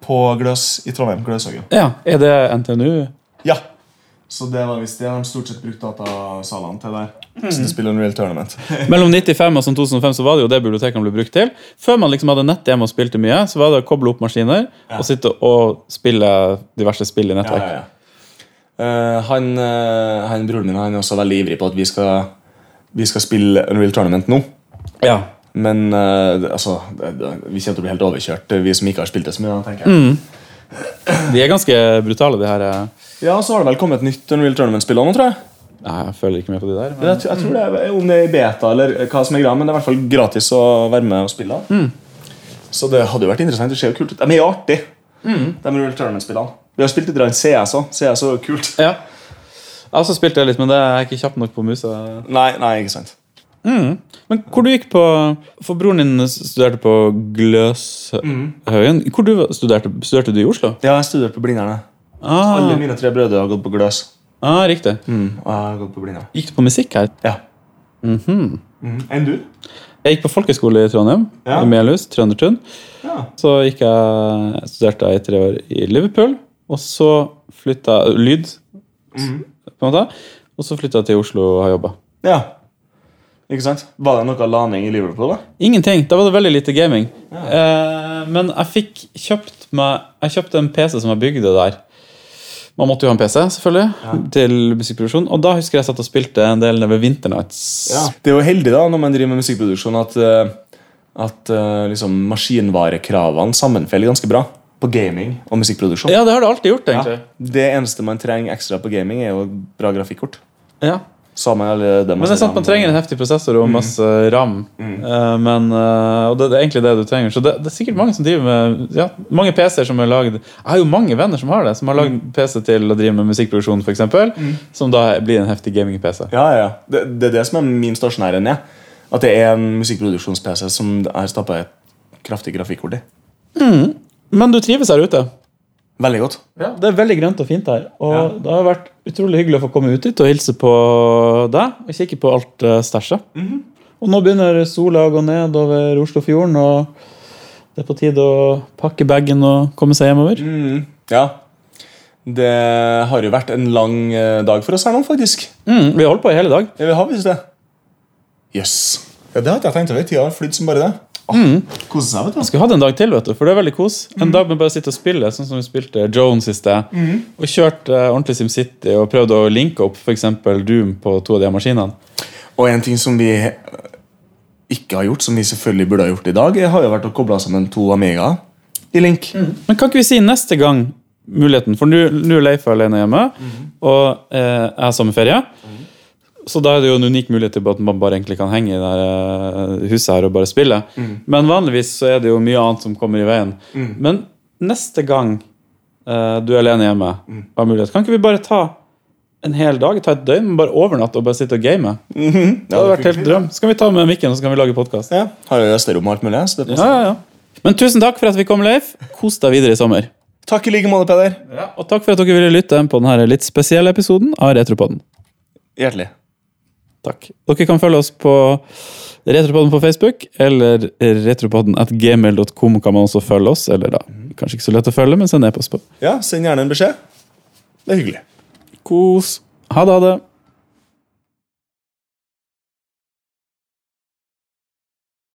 på Gløs i Trondheim. Gløshaugen.
Ja, Er det NTNU?
Ja. Så det var visst det. De har stort sett brukt datasalene til der. Så de spiller Unreal Tournament.
Mellom 95 og sånn 2005 så var det jo det bibliotekene ble brukt til. Før man liksom hadde nett hjemme og spilte mye, så var det å koble opp maskiner og sitte og spille diverse spill i nettverk.
Eh, han, eh, han broren min han er også veldig ivrig på at vi skal, vi skal spille Unreal Tournament nå.
Ja.
Men eh, det- altså, det, det, vi kommer til å bli helt overkjørt, eh, vi som ikke har spilt det så mye. tenker jeg.
De er ganske brutale, de her. eh.
Ja, Så har det vel kommet et nytt Unreal Tournament-spill òg, tror jeg.
Nei, jeg følger ikke med på de der. Men...
Jeg, tror- jeg tror det er, Om det er i beta eller hva som er greia, men det er i hvert fall gratis å være med og spille. da. Så det hadde jo vært interessant. Det ser jo kult ut. De er jo artige, de Unreal Tournament-spillene. Vi har spilt litt grann CS òg. CS er jo kult.
Ja. Jeg har også spilt det litt, men det er jeg ikke kjapp nok på musa.
Nei, nei, ikke sant.
Men hvor du gikk på For broren din studerte på Gløshaugen. Hvor du studerte, studerte du i Oslo?
Ja, jeg studerte på Blindern. jeg.
Ah,
Alle mine tre brødre har gått på Gløs.
ah Riktig.
Mm, og jeg har gått på Blindern.
Gikk du på musikk her?
Ja. Mm Enn du?
Jeg gikk på folkeskole i Trondheim,
Ja.
i Melhus, Trøndertun.
Ja.
Så gikk jeg, studerte jeg i tre år i Liverpool, og så flytta Lyd, på en måte. Og så flytta jeg til Oslo og har jobba.
Ja. Ikke sant? Var det noe laning i Liverpool, da?
Ingenting. Da var det veldig lite gaming. Eh, men jeg fikk kjøpt meg Jeg kjøpte en PC som jeg bygde der. Man måtte jo ha en PC, selvfølgelig, til musikkproduksjon. Og da husker jeg satt og spilte en del ved Winternights.
Det er jo heldig da, når man driver med musikkproduksjon, at, eh, at eh, liksom, maskinvarekravene sammenfeller ganske bra på gaming og musikkproduksjon.
Ja, det har det alltid gjort, egentlig.
Det eneste man trenger ekstra på gaming, er jo bra grafikkort.
Ja.
Samme alle dem
Men det er sant, man trenger en heftig prosessor og masse ram. Eh, men, eh, og det, det er egentlig det du trenger. Så det, det er sikkert mange som driver med ja, Mange PC-er som er lagd Jeg har jo mange venner som har det, som har lagd PC til å drive med musikkproduksjon, f.eks., eksempel som da blir en heftig gaming-PC.
Ja, ja, ja. Det, det er det som er min stasjonære ned. At det er en musikkproduksjons-PC som er stappa et kraftig grafikkort i.
Men du trives her ute?
Veldig godt.
Ja, Det er veldig grønt og fint her. Og Det har vært utrolig hyggelig å få komme ut hit og hilse på deg og kikke på alt uh, stæsjet. Og nå begynner sola å gå ned over Oslofjorden, og det er på tide å pakke bagen og komme seg hjemover.
Ja. Det har jo vært en lang eh, dag for oss her nå, faktisk.
Mm, vi har holdt på i hele dag.
Ja, vi har visst det. Jøss. Yes. Mm. Ja, det har ikke jeg tenkt over. Tida har flydd som bare det. Ah, Kose seg, vet du.
Skulle hatt en dag til, vet du, for det er veldig kos. En dag med bare å sitte og spille, sånn som vi spilte Jones i sted. Og kjørte eh, ordentlig SimCity og prøvde å linke opp f.eks. Doom på to av de her maskinene.
Og en ting som vi eh, ikke har gjort, som vi selvfølgelig burde ha gjort i dag, eh, har jo vært å koble sammen to Amiga i Link.
Men kan ikke vi si neste gang muligheten? For nå nå er Leif alene hjemme, og eh, jeg har sommerferie. Så da er det jo en unik mulighet til at man bare egentlig kan henge i det her, eh, huset her og bare spille. Men vanligvis så er det jo mye annet som kommer i veien. Men neste gang eh, du er alene hjemme, og har mulighet, kan ikke vi bare ta en hel dag, ta et døgn, men bare overnatte og bare sitte og game? Det hadde vært helt drøm. Så kan vi ta med mikken, og så kan vi lage podkast.
Ja, har jo stereo alt mulig. Så det
Ja,
passer.
ja, ja. Men tusen takk for at vi kom, Leif. Kos deg videre i sommer.
Takk i like måte, Peder.
Og takk for at dere ville lytte på denne litt spesielle episoden av Retropoden.
Hjertelig.
Takk. Dere kan følge oss på Retropoden på Facebook, eller retropoden at gmail.com kan man også følge oss. Eller da, kanskje ikke så lett å følge, men send e-post på.
Ja, send gjerne en beskjed. Det er hyggelig.
Kos. Ha det, ha det.